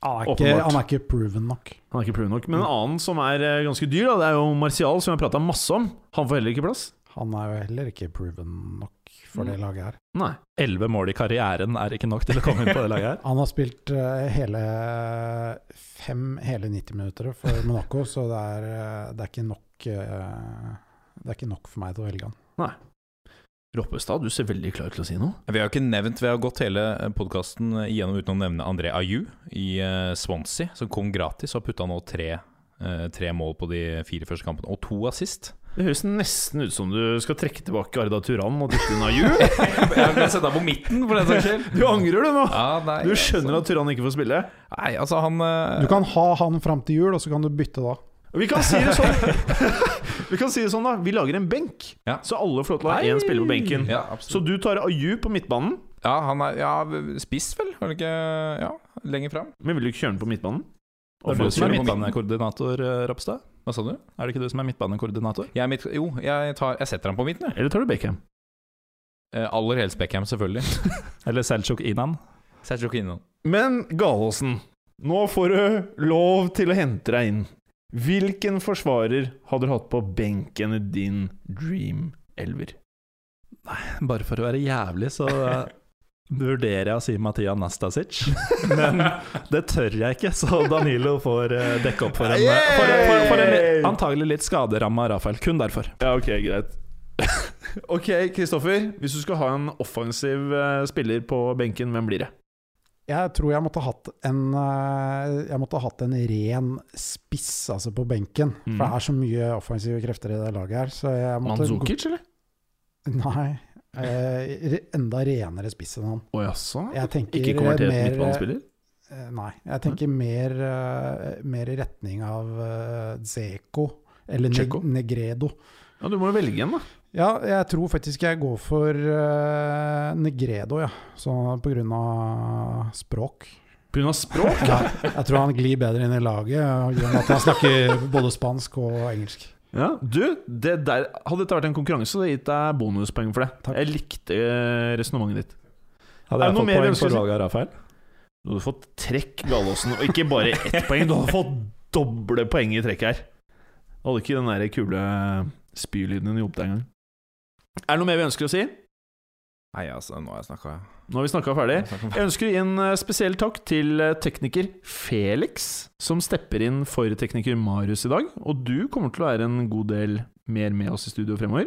Speaker 4: Han er ikke,
Speaker 2: Åpenbart.
Speaker 4: han er ikke proven nok.
Speaker 2: Han er ikke proven nok. Men en annen som er eh, ganske dyr, da, det er jo Martial, som jeg har prata masse om. Han får heller ikke plass.
Speaker 4: Han er jo heller ikke proven nok for
Speaker 2: Mm.
Speaker 4: det laget her.
Speaker 2: Nei.
Speaker 3: Elleve mål i karrieren er ikke nok til å komme inn på det laget her.
Speaker 4: Han har spilt eh, hele fem hele 90-minutter for Monaco, så det er, eh, det er ikke nok eh, Det er ikke nok for meg til å velge han.
Speaker 2: Roppestad, du ser veldig klar ut til å si noe.
Speaker 5: Vi har jo ikke nevnt, vi har gått hele podkasten igjennom uten å nevne André Ayew i eh, Swansea, som kom gratis og har putta nå tre, eh, tre mål på de fire første kampene, og to assist.
Speaker 2: Det høres nesten ut som du skal trekke tilbake Arda Turan og dytte inn Aju.
Speaker 5: Jeg kan sette deg på midten, for den saks skyld.
Speaker 2: Du angrer, du nå!
Speaker 5: Ja, nei,
Speaker 2: Du skjønner at Turan ikke får spille.
Speaker 5: altså. Nei, altså, han eh,
Speaker 4: Du kan ha han fram til jul, og så kan du bytte da.
Speaker 2: Vi kan si det sånn, vi kan si det sånn da. Vi lager en benk,
Speaker 5: Ja.
Speaker 2: så alle får lov til å ha én spiller på benken.
Speaker 5: ja,
Speaker 2: Så
Speaker 5: absolutt.
Speaker 2: du tar Aju på midtbanen,
Speaker 5: ja, han er ja, spiss, vel? Har han ikke Ja, lenger fram?
Speaker 2: men vil du ikke kjøre den på midtbanen?
Speaker 3: Det er du som er
Speaker 5: kjører på midten.
Speaker 3: midtbanekoordinator, eh, Ropstad.
Speaker 5: Hva sa du?
Speaker 3: Er det ikke du som er midtbanekoordinator?
Speaker 5: Jeg er midt, jo, jeg, tar, jeg setter ham på midten, jeg.
Speaker 2: Eller tar du Beckham?
Speaker 5: Eh, Aller helst Beckham, selvfølgelig.
Speaker 3: Eller Selchuk Inan?
Speaker 5: Sergio Kino.
Speaker 2: Men Galåsen, nå får du lov til å hente deg inn. Hvilken forsvarer har du hatt på benken i din dream elver?
Speaker 3: Bare for å være jævlig, så eh, vurderer jeg å si Matija Nastasic. Men det tør jeg ikke, så Danilo får eh, dekke opp for en, eh, for, for, for en li- antagelig litt skaderamma Rafael. Kun derfor.
Speaker 2: Ja, ok, greit. ok, Kristoffer. Hvis du skal ha en offensiv eh, spiller på benken, hvem blir det?
Speaker 4: Jeg tror jeg måtte ha hatt en eh, Jeg måtte ha hatt en ren spiss altså på benken.
Speaker 2: Mm.
Speaker 4: For det er så mye offensive krefter i det laget her. Så jeg måtte gå-
Speaker 2: Mandzukic, eller?
Speaker 4: Nei. eh, re- enda renere spiss enn han.
Speaker 2: Å jaså?
Speaker 4: Jeg tenker
Speaker 2: Ikke konvertert
Speaker 4: mer,
Speaker 2: midtbanespiller?
Speaker 4: eh, Nei. Jeg tenker mer, eh, mer i retning av eh, Zeko eller
Speaker 2: Dzeko?
Speaker 4: Neg Negredo.
Speaker 2: Ja, du må jo velge en, da.
Speaker 4: Ja, jeg tror faktisk jeg går for eh, Negredo, ja. Så på grunn av språk.
Speaker 2: Pga. språk?
Speaker 4: Ja, jeg tror han glir bedre inn i laget, eh, og gjør at han snakker både spansk og engelsk.
Speaker 2: Ja. Du, det der, hadde dette vært en konkurranse, så hadde jeg gitt deg bonuspoeng for det. Jeg likte eh, resonnementet ditt.
Speaker 3: Hadde
Speaker 2: Er det
Speaker 3: jeg
Speaker 2: noe
Speaker 3: fått
Speaker 2: mer vi
Speaker 3: poeng
Speaker 2: ønsker å
Speaker 3: for
Speaker 2: si?
Speaker 3: valget av Rafael?
Speaker 2: Du hadde fått trekk, Gallåsen, og ikke bare ett poeng. Du hadde fått doble poeng i trekk her. Du hadde ikke den der kule spylyden din i opp deg engang. Er det noe mer vi ønsker å si?
Speaker 5: Nei, altså, nå har jeg snakka.
Speaker 2: Nå har vi snakka ferdig. Jeg ønsker å gi en eh, spesiell takk til eh, tekniker Felix, som stepper inn for tekniker Marius i dag. Og du kommer til å være en god del mer med oss i studio fremover.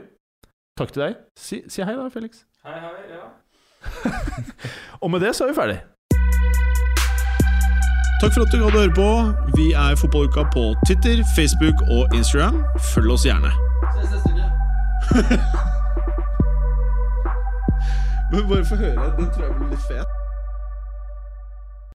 Speaker 2: Takk til deg. Si, si hei da, Felix.
Speaker 5: Hei, hei, ja.
Speaker 2: Og med det så er vi ferdig.
Speaker 1: Takk for at du hadde høre på. Vi er Fotballuka på Twitter, Facebook og Instagram. Følg oss gjerne. Ses neste uke. Men bare få høre. Den tror jeg blir litt fet.